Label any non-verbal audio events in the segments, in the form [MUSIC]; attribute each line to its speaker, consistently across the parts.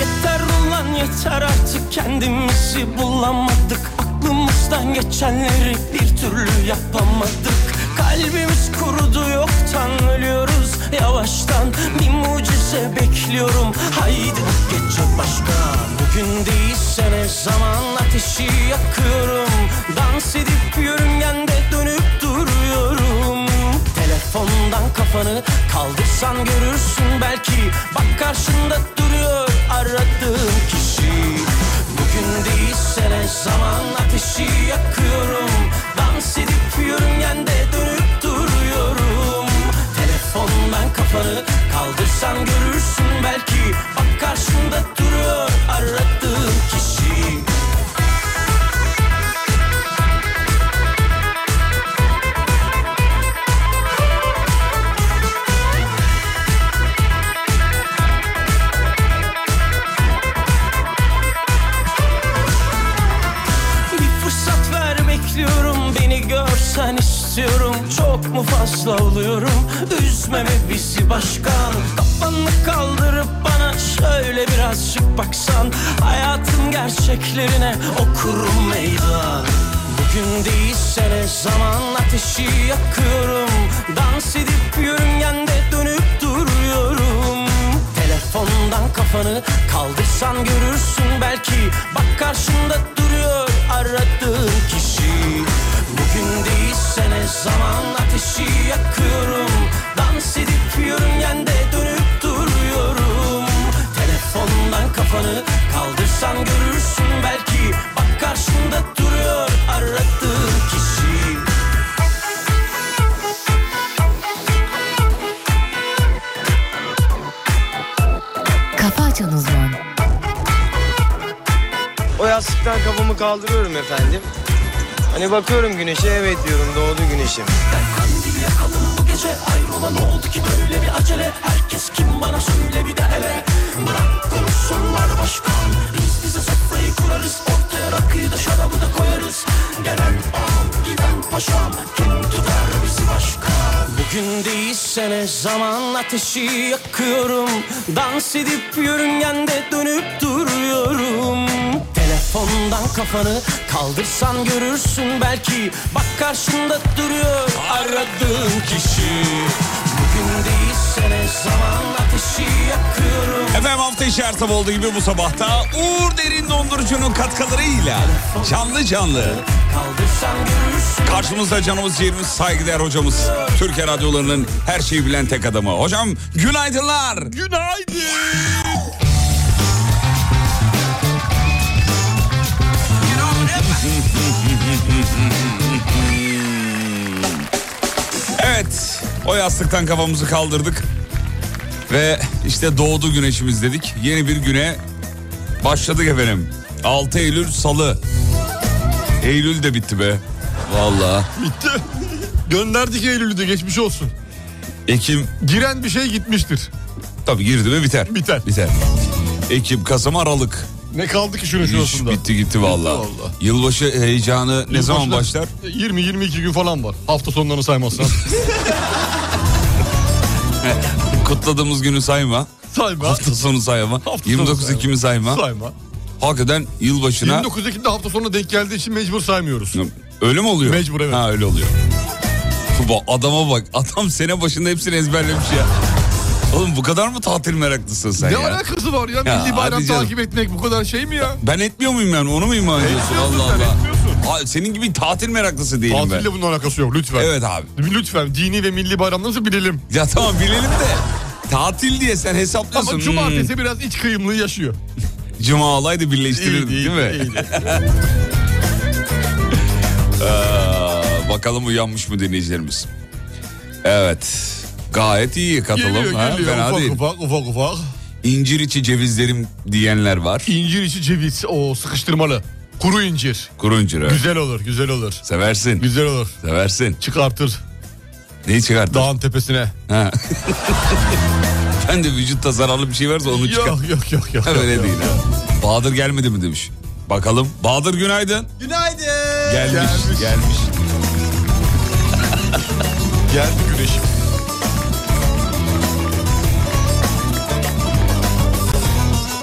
Speaker 1: Yeter ulan yeter artık kendimizi bulamadık Aklımızdan geçenleri bir türlü yapamadık Kalbimiz kurudu yoktan ölüyoruz yavaştan Bir mucize bekliyorum haydi gece başka Bugün değilse ne zaman ateşi yakıyorum Dans edip yörüngende dönüp duruyorum Telefondan kafanı kaldırsan görürsün belki Bak karşında duruyor aradığın kişi Bugün değilse ne zaman ateşi yakıyorum Dans edip yörüngende dönüp duruyorum Telefondan kafanı kaldırsan görürsün belki Bak karşında duruyor aradığın kişi Bir fırsat ver bekliyorum Beni görsen istiyorum Çok mu fazla oluyorum Üzmeme bizi başkan Kafanı kaldırıp bana Şöyle birazcık baksan Hayatın gerçeklerine okurum meydan Bugün değilse ne zaman ateşi yakıyorum Dans edip yörüngende dönüp duruyorum Telefondan kafanı kaldırsan görürsün belki Bak karşında duruyor aradığın kişi Bugün değilse ne zaman ateşi yakıyorum Dans edip yörüngende dönüp duruyorum Telefondan kafanı kaldırsan görürsün belki Bak karşında duruyor aradığın kişi
Speaker 2: Kafa Açan Uzman
Speaker 3: O yastıktan kafamı kaldırıyorum efendim. Hani bakıyorum güneşe evet diyorum doğdu güneşim.
Speaker 1: Bugün değilse ne zaman ateşi yakıyorum Dans edip yörüngende dönüp duruyorum Telefondan kafanı kaldırsan görürsün belki Bak karşında duruyor aradığın kişi Bugün değilse ne zaman ateşi yakıyorum
Speaker 4: Efendim hafta içi her sabah olduğu gibi bu sabahta Uğur Derin Dondurucu'nun katkılarıyla canlı canlı
Speaker 1: Kaldırsan görürsün
Speaker 4: karşımızda canımız ciğerimiz saygıdeğer hocamız. Türkiye radyolarının her şeyi bilen tek adamı. Hocam günaydınlar. Günaydın. [LAUGHS] Evet o yastıktan kafamızı kaldırdık. Ve işte doğdu güneşimiz dedik. Yeni bir güne başladık efendim. 6 Eylül Salı. Eylül de bitti be. Vallahi.
Speaker 5: Bitti. Gönderdik Eylül'ü de geçmiş olsun.
Speaker 4: Ekim
Speaker 5: Giren bir şey gitmiştir.
Speaker 4: tabii girdi mi biter.
Speaker 5: Biter.
Speaker 4: Biter. Ekim, Kasım, Aralık.
Speaker 5: Ne kaldı ki şunun
Speaker 4: İş
Speaker 5: şurasında?
Speaker 4: bitti gitti vallahi.
Speaker 5: Bitti vallahi.
Speaker 4: Yılbaşı heyecanı ne zaman başlar?
Speaker 5: 20-22 gün falan var. Hafta sonlarını
Speaker 4: [LAUGHS]
Speaker 5: saymazsan.
Speaker 4: Kutladığımız günü sayma.
Speaker 5: Sayma.
Speaker 4: Hafta sonu sayma.
Speaker 5: Hafta sonu
Speaker 4: 29
Speaker 5: sayma.
Speaker 4: Ekim'i sayma.
Speaker 5: Sayma.
Speaker 4: Hakikaten yılbaşına
Speaker 5: 29 Ekim'de hafta sonuna denk geldiği için mecbur saymıyoruz.
Speaker 4: öyle mi oluyor?
Speaker 5: Mecbur, evet.
Speaker 4: Ha öyle oluyor. Bu adama bak. Adam sene başında hepsini ezberlemiş ya. Oğlum bu kadar mı tatil meraklısın sen
Speaker 5: Ne
Speaker 4: ya?
Speaker 5: alakası var ya?
Speaker 4: Ya,
Speaker 5: Milli bayram
Speaker 4: hadi canım.
Speaker 5: takip etmek bu kadar şey mi ya?
Speaker 4: Ben etmiyor muyum yani? Onu muyum ben diyorsun?
Speaker 5: Etmiyorsun
Speaker 4: Allah
Speaker 5: sen,
Speaker 4: Allah.
Speaker 5: etmiyorsun.
Speaker 4: Ha, senin gibi tatil meraklısı değilim ben.
Speaker 5: Tatille bunun alakası yok lütfen.
Speaker 4: Evet abi.
Speaker 5: Lütfen dini ve milli bayramlarınızı bilelim.
Speaker 4: Ya tamam bilelim de tatil diye sen hesaplıyorsun.
Speaker 5: Ama cumartesi biraz iç kıyımlığı yaşıyor.
Speaker 4: Hmm, cuma olaydı birleştirirdik değil mi?
Speaker 5: iyiydi.
Speaker 4: Ee, bakalım uyanmış mı dinleyicilerimiz. Evet. Gayet iyi katılım.
Speaker 5: Geliyor
Speaker 4: ha,
Speaker 5: geliyor
Speaker 4: fena
Speaker 5: ufak,
Speaker 4: değil.
Speaker 5: ufak ufak ufak.
Speaker 4: İncir içi cevizlerim diyenler var.
Speaker 5: İncir içi ceviz o sıkıştırmalı. Kuru incir.
Speaker 4: Kuru incir evet.
Speaker 5: Güzel olur güzel olur.
Speaker 4: Seversin.
Speaker 5: Güzel olur.
Speaker 4: Seversin.
Speaker 5: Çıkartır
Speaker 4: Neyi çıkarttın?
Speaker 5: dağın tepesine.
Speaker 4: Ha. ben de vücutta zararlı bir şey varsa onu çıkar.
Speaker 5: Yok yok yok yok.
Speaker 4: Ha, [LAUGHS]
Speaker 5: yok,
Speaker 4: Öyle
Speaker 5: yok.
Speaker 4: değil ha. Bahadır gelmedi mi demiş. Bakalım. Bahadır günaydın.
Speaker 3: Günaydın.
Speaker 4: Gelmiş. Gelmiş.
Speaker 5: Gelmiş. Geldi güneşim.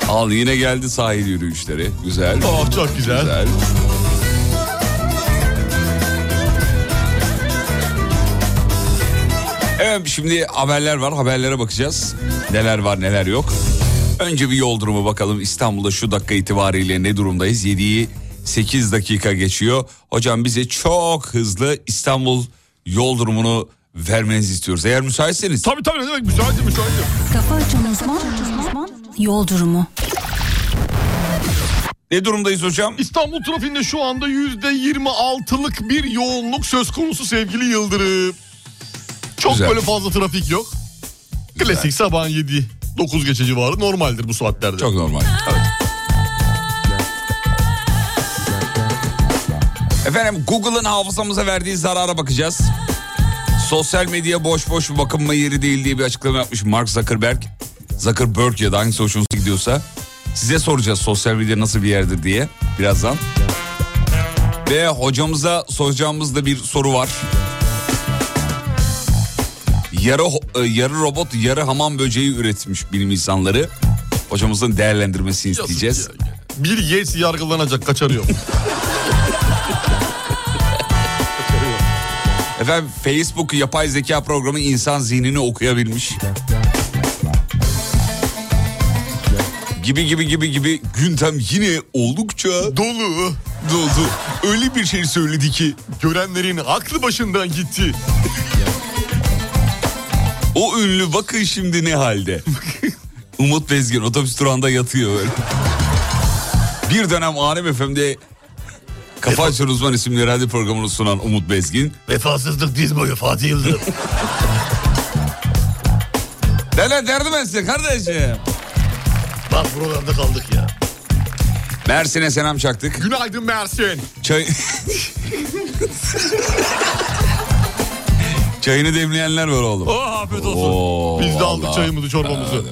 Speaker 4: Al yine geldi sahil yürüyüşleri. Güzel.
Speaker 5: Oh çok güzel.
Speaker 4: Güzel. Evet şimdi haberler var. Haberlere bakacağız. Neler var neler yok. Önce bir yol durumu bakalım. İstanbul'da şu dakika itibariyle ne durumdayız? 7'yi 8 dakika geçiyor. Hocam bize çok hızlı İstanbul yol durumunu vermenizi istiyoruz. Eğer müsaitseniz.
Speaker 5: Tabii tabii ne demek müsaitim müsaitim.
Speaker 6: Kafa Açan Uzman Yol Durumu
Speaker 4: Ne durumdayız hocam?
Speaker 5: İstanbul trafiğinde şu anda %26'lık bir yoğunluk söz konusu sevgili Yıldırım. Çok
Speaker 4: Güzel.
Speaker 5: böyle fazla trafik yok. Klasik sabahın 7 9 geçe civarı normaldir bu saatlerde.
Speaker 4: Çok normal. Evet. Efendim Google'ın hafızamıza verdiği zarara bakacağız. Sosyal medya boş boş bakınma yeri değil diye bir açıklama yapmış Mark Zuckerberg. Zuckerberg ya da hangisi hoşunuza gidiyorsa. Size soracağız sosyal medya nasıl bir yerdir diye birazdan. Ve hocamıza soracağımız da bir soru var. Yarı, ho- e, yarı robot, yarı hamam böceği üretmiş bilim insanları. Hocamızın değerlendirmesini
Speaker 5: Yazık
Speaker 4: isteyeceğiz.
Speaker 5: ya. Bir Yates yargılanacak kaçarıyor.
Speaker 4: Efendim Facebook yapay zeka programı insan zihnini okuyabilmiş. Gibi gibi gibi gibi gündem yine oldukça
Speaker 5: [LAUGHS] Dolu.
Speaker 4: doldu. Öyle bir şey söyledi ki
Speaker 5: Görenlerin aklı başından gitti.
Speaker 4: o ünlü bakın şimdi ne halde. Umut Bezgin otobüs durağında yatıyor böyle. Bir dönem Alem FM'de Kafa Açan Uzman isimli radyo programını sunan Umut Bezgin.
Speaker 5: Vefasızlık diz boyu Fatih Yıldırım.
Speaker 4: [LAUGHS] Neler derdim ben size kardeşim.
Speaker 5: Bak buralarda kaldık ya.
Speaker 4: Mersin'e selam çaktık.
Speaker 5: Günaydın Mersin.
Speaker 4: Çay... [LAUGHS] Çayını demleyenler var oğlum.
Speaker 5: Oh, afiyet olsun.
Speaker 4: Oo,
Speaker 5: Biz de aldık
Speaker 4: vallahi.
Speaker 5: çayımızı çorbamızı.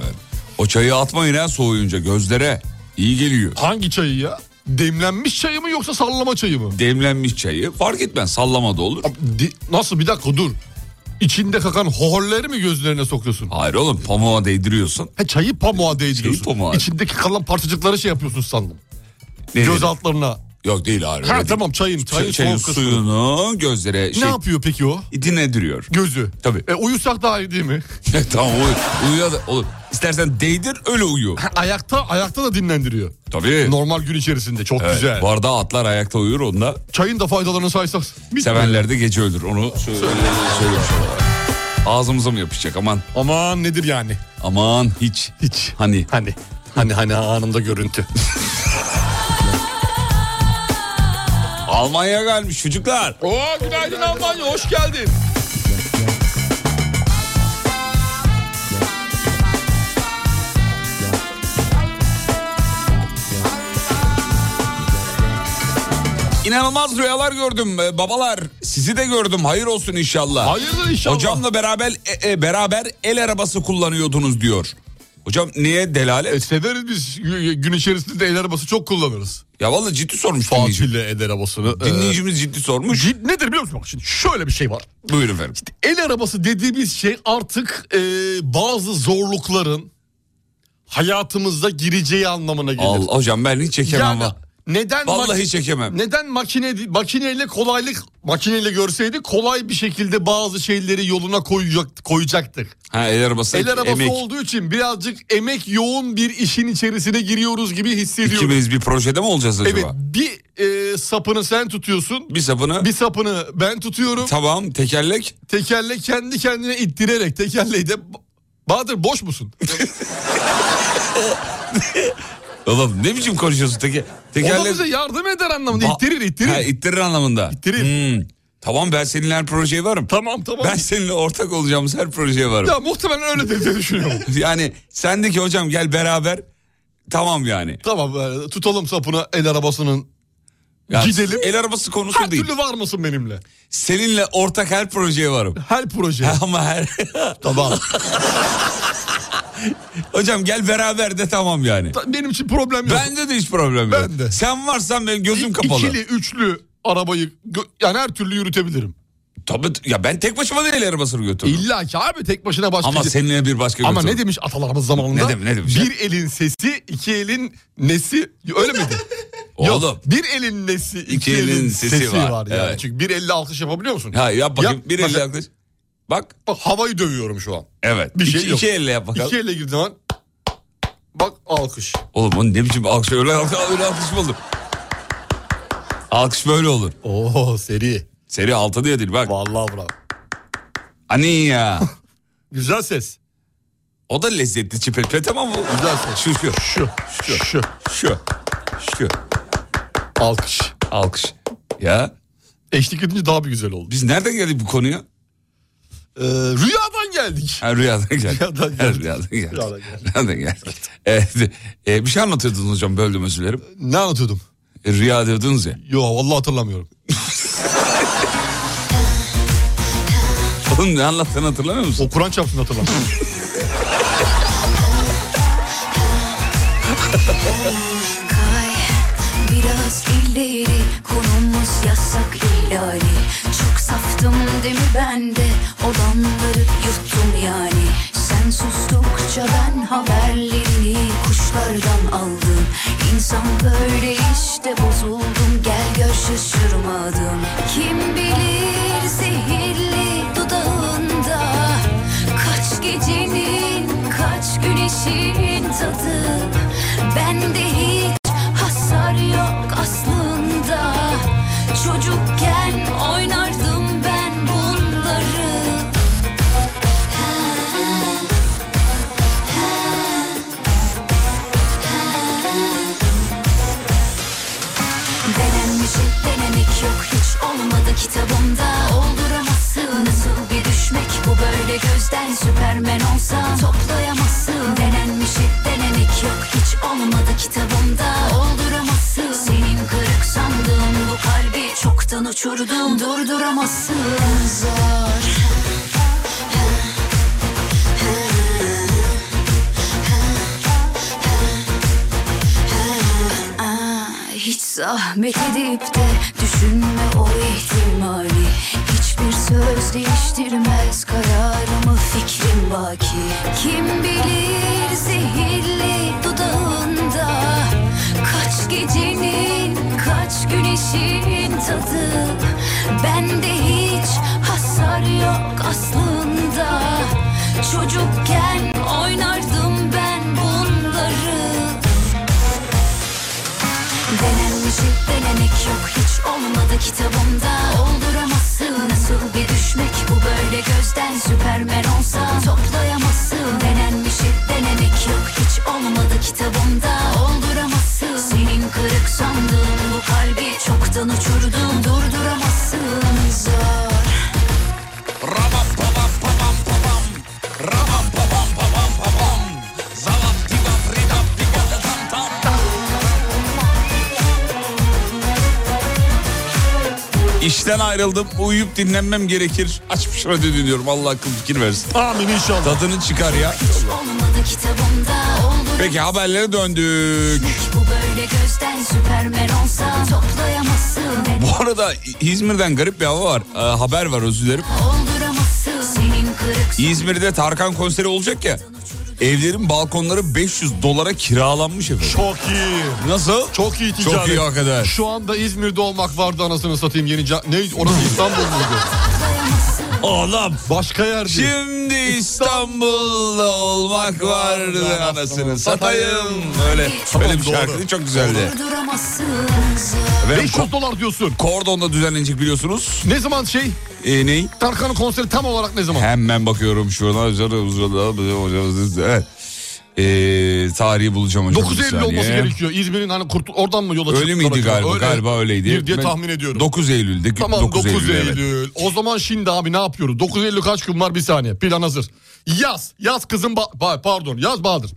Speaker 4: O çayı atmayın ha soğuyunca gözlere. iyi geliyor.
Speaker 5: Hangi çayı ya? Demlenmiş çayı mı yoksa sallama çayı mı?
Speaker 4: Demlenmiş çayı fark etmez sallama da olur.
Speaker 5: Di- Nasıl bir dakika dur. İçinde kakan hoholleri mi gözlerine sokuyorsun?
Speaker 4: Hayır oğlum pamuğa değdiriyorsun.
Speaker 5: Ha, çayı pamuğa değdiriyorsun.
Speaker 4: Çayı pamuğa.
Speaker 5: İçindeki kalan parçacıkları şey yapıyorsun sandım.
Speaker 4: Ne
Speaker 5: Göz
Speaker 4: dedi?
Speaker 5: altlarına.
Speaker 4: Yok değil hayır.
Speaker 5: Ha
Speaker 4: öyle değil.
Speaker 5: tamam çayın. Çayın,
Speaker 4: Ç- çayın
Speaker 5: soğuk kısmı.
Speaker 4: suyunu gözlere şey
Speaker 5: Ne yapıyor peki o?
Speaker 4: dinlendiriyor.
Speaker 5: Gözü.
Speaker 4: Tabii.
Speaker 5: E, uyusak daha iyi değil mi? [LAUGHS]
Speaker 4: [LAUGHS] tamam uyu. Uyuya da olur. İstersen değdir öyle uyu.
Speaker 5: ayakta ayakta da dinlendiriyor.
Speaker 4: Tabii.
Speaker 5: Normal gün içerisinde çok
Speaker 4: Evet,
Speaker 5: güzel.
Speaker 4: Bu arada atlar ayakta uyur onda.
Speaker 5: Çayın da faydalarını saysak. bitmiyor.
Speaker 4: Sevenler de gece ölür. Onu söyle- söylemiş olarak. Ağzımıza mı yapışacak aman
Speaker 5: Aman nedir yani?
Speaker 4: aman hiç.
Speaker 5: Hiç.
Speaker 4: Hani
Speaker 5: Hani hani hani anında [LAUGHS] görüntü.
Speaker 4: Almanya'ya gelmiş çocuklar.
Speaker 5: Oo günaydın Almanya hoş geldin.
Speaker 4: İnanılmaz rüyalar gördüm Ee, babalar. Sizi de gördüm hayır olsun inşallah.
Speaker 5: Hayırdır inşallah.
Speaker 4: Hocamla beraber e, e, beraber el arabası kullanıyordunuz diyor. Hocam niye delalet?
Speaker 5: E, Severiz biz gü- gün içerisinde el arabası çok kullanırız.
Speaker 4: Ya vallahi ciddi sormuş dinleyicimiz.
Speaker 5: Fatih'le el arabasını. Dinleyici.
Speaker 4: Dinleyicimiz ciddi sormuş.
Speaker 5: nedir biliyor musun? Bak şimdi şöyle bir şey var.
Speaker 4: Buyurun efendim.
Speaker 5: El arabası dediğimiz şey artık e, bazı zorlukların hayatımıza gireceği anlamına gelir.
Speaker 4: Al, hocam ben hiç çekemem.
Speaker 5: yani
Speaker 4: ha.
Speaker 5: neden
Speaker 4: Vallahi
Speaker 5: maki-
Speaker 4: çekemem.
Speaker 5: neden makine makineyle kolaylık makineyle görseydik kolay bir şekilde bazı şeyleri yoluna koyacak, koyacaktık.
Speaker 4: Ha, el arabası,
Speaker 5: El arabası
Speaker 4: emek.
Speaker 5: olduğu için birazcık emek yoğun bir işin içerisine giriyoruz gibi hissediyorum.
Speaker 4: İkimiz bir projede mi olacağız acaba?
Speaker 5: Evet bir e, sapını sen tutuyorsun.
Speaker 4: Bir sapını.
Speaker 5: Bir sapını ben tutuyorum.
Speaker 4: Tamam tekerlek.
Speaker 5: Tekerle kendi kendine ittirerek tekerleği de... Bahadır boş musun?
Speaker 4: Oğlum ne biçim konuşuyorsun teki?
Speaker 5: O da bize yardım eder anlamında. İttirir ittirir.
Speaker 4: Ha, ittirir anlamında.
Speaker 5: İttirir.
Speaker 4: Hmm. Tamam ben seninle her projeye varım.
Speaker 5: Tamam tamam.
Speaker 4: Ben seninle ortak olacağımız her projeye varım.
Speaker 5: Ya muhtemelen öyle de diye düşünüyorum.
Speaker 4: Yani sen de ki hocam gel beraber tamam yani.
Speaker 5: tamam e, tutalım sapını el arabasının.
Speaker 4: Ya
Speaker 5: Gidelim.
Speaker 4: El arabası konusu
Speaker 5: Her
Speaker 4: değil.
Speaker 5: türlü var mısın benimle?
Speaker 4: Seninle ortak her projeye varım.
Speaker 5: Her proje.
Speaker 4: [LAUGHS] Ama her...
Speaker 5: tamam.
Speaker 4: hocam gel beraber de tamam yani.
Speaker 5: [LAUGHS] Ta- Benim için problem yok.
Speaker 4: Bende de hiç problem yok.
Speaker 5: Ben de.
Speaker 4: Sen varsan benim gözüm
Speaker 5: İ-
Speaker 4: kapalı.
Speaker 5: İkili, üçlü arabayı gö- yani her türlü yürütebilirim.
Speaker 4: Tabii t- ya ben tek başıma değil el arabasını götürürüm.
Speaker 5: İlla ki abi tek başına başka.
Speaker 4: Ama
Speaker 5: şey-
Speaker 4: seninle bir başka
Speaker 5: Ama
Speaker 4: götürürüm.
Speaker 5: ne demiş atalarımız zamanında?
Speaker 4: Ne dem- ne demiş ya?
Speaker 5: Bir elin sesi, iki elin nesi. Öyle
Speaker 4: [LAUGHS]
Speaker 5: miydi? Yok,
Speaker 4: Oğlum.
Speaker 5: bir elin nesi, iki, elin, sesi, var. yani.
Speaker 4: evet.
Speaker 5: Çünkü bir elle alkış yapabiliyor musun?
Speaker 4: Ha yap bakayım
Speaker 5: Yap,
Speaker 4: bir elle
Speaker 5: mesela-
Speaker 4: yaklaş. Bak
Speaker 5: Bak havayı dövüyorum şu an.
Speaker 4: evet.
Speaker 5: Bir şey
Speaker 4: iki,
Speaker 5: yok.
Speaker 4: iki elle yap bakalım.
Speaker 5: İki elle girdiğim zaman bak alkış.
Speaker 4: Oğlum o ne biçim alkış öyle alkış, öyle alkış mı olur? Alkış böyle olur.
Speaker 5: Oo seri.
Speaker 4: Seri altı diye değil bak.
Speaker 5: Vallahi bravo.
Speaker 4: Ani ya.
Speaker 5: Güzel ses.
Speaker 4: O da lezzetli çipet ama bu.
Speaker 5: Güzel ses.
Speaker 4: Şu şu
Speaker 5: Şu, şu, şu.
Speaker 4: şu şu
Speaker 5: Alkış.
Speaker 4: alkış. Ya
Speaker 5: Eşlik edince daha bir güzel oldu.
Speaker 4: biz nereden geldik bu konuya?
Speaker 5: Ee, rüyadan geldik.
Speaker 4: Ha, rüyadan geldik.
Speaker 5: Rüyadan
Speaker 4: Ha,
Speaker 5: geldik.
Speaker 4: Rüyadan geldik.
Speaker 5: Rüyadan geldik.
Speaker 4: Rüyadan geldik. Evet, e, bir şey anlatıyordunuz hocam böldüm özür dilerim.
Speaker 5: Ne anlatıyordum?
Speaker 4: E, rüya diyordunuz ya.
Speaker 5: Yo vallahi hatırlamıyorum.
Speaker 4: Oğlum ne anlattığını hatırlamıyor musun?
Speaker 5: O Kur'an çarpsın hatırlamıyorum.
Speaker 7: Kay biraz ileri Konumuz yasak ihlali Çok saftım değil mi ben de Olanları yuttum yani Sen sustukça ben haberlerini Kuşlardan aldım İnsan böyle işte bozuldum Gel gör şaşırmadım Kim bilir zehirli dudağında Kaç gecenin kaç güneşin tadı Bende hiç hasar yok aslında Çocukken oynardım ben bunları Denenmişi denemek yok hiç olmadı kitabımda Olduramazsın nasıl bir düşmek bu böyle gözden Süpermen olsan toplayamazsın Denenmişi denemek yok hiç olmadı kitabımda Olduramazsın senin kırık sandığın bu kalbi çoktan uçurdum Durduramazsın zor Hiç zahmet edip de düşünme o ihtimali Hiçbir söz değiştirmez kararımı fikrim baki Kim bilir zehirli dudağında Kaç gecenin kaç güneşin tadı Bende hiç hasar yok aslında Çocukken oynardım ben bunları Denenmişi denemek yok hiç olmadı kitabımda Olduramazsın nasıl bir düşmek bu böyle gözden Süpermen olsan toplayamazsın Denenmişi denemek yok hiç olmadı kitabımda Olduramazsın senin kırık sandığın bu kalbi çoktan uçurdum Durduramazsın zor
Speaker 4: İşten ayrıldım uyuyup dinlenmem gerekir. Açmış radyo dinliyorum Allah akıl fikir versin.
Speaker 5: Amin inşallah.
Speaker 4: Tadını çıkar ya.
Speaker 7: Hiç olmadı kitabımda Olduramazsın
Speaker 4: Peki haberlere döndük.
Speaker 7: bu böyle gözden Süpermen olsan toplayamazsın
Speaker 4: Bu arada İzmir'den garip bir hava var. Ee, haber var özür dilerim.
Speaker 7: Olduramazsın senin kırık
Speaker 4: İzmir'de Tarkan konseri olacak ya. Evlerin balkonları 500 dolara kiralanmış efendim.
Speaker 5: [LAUGHS] Çok iyi.
Speaker 4: Nasıl?
Speaker 5: Çok iyi ticaret.
Speaker 4: Çok iyi hakikaten.
Speaker 5: Şu anda İzmir'de olmak vardı anasını satayım. Yeni ca- ne? [LAUGHS] Orası İstanbul muydu?
Speaker 4: Oğlum.
Speaker 5: Başka yerdi.
Speaker 4: Şimdi İstanbul'da olmak vardı anasını satayım. Öyle, öyle bir
Speaker 5: Tamam,
Speaker 4: şarkıydı
Speaker 5: doğru.
Speaker 4: çok güzeldi.
Speaker 7: Durduramazsın
Speaker 4: Ve
Speaker 5: 500 dolar diyorsun.
Speaker 4: Kordon'da düzenlenecek biliyorsunuz.
Speaker 5: Ne zaman şey?
Speaker 4: Ee, ney?
Speaker 5: Tarkan'ın konseri tam olarak ne zaman?
Speaker 4: Hemen bakıyorum şuradan. Evet. Ee, tarihi bulacağım hocam.
Speaker 5: 9
Speaker 4: bir
Speaker 5: Eylül
Speaker 4: saniye.
Speaker 5: olması gerekiyor. İzmir'in hani kurtul oradan mı yola
Speaker 4: Öyle
Speaker 5: çıktılar
Speaker 4: miydi
Speaker 5: acaba?
Speaker 4: galiba? Galiba öyleydi.
Speaker 5: Bir diye
Speaker 4: Ben-
Speaker 5: tahmin ediyorum.
Speaker 4: 9 Eylül'de.
Speaker 5: Tamam 9, Eylül.
Speaker 4: evet.
Speaker 5: O zaman şimdi abi ne yapıyoruz? 9 Eylül kaç gün var bir saniye. Plan hazır. Yaz. Yaz kızım ba- ba- pardon yaz Bahadır.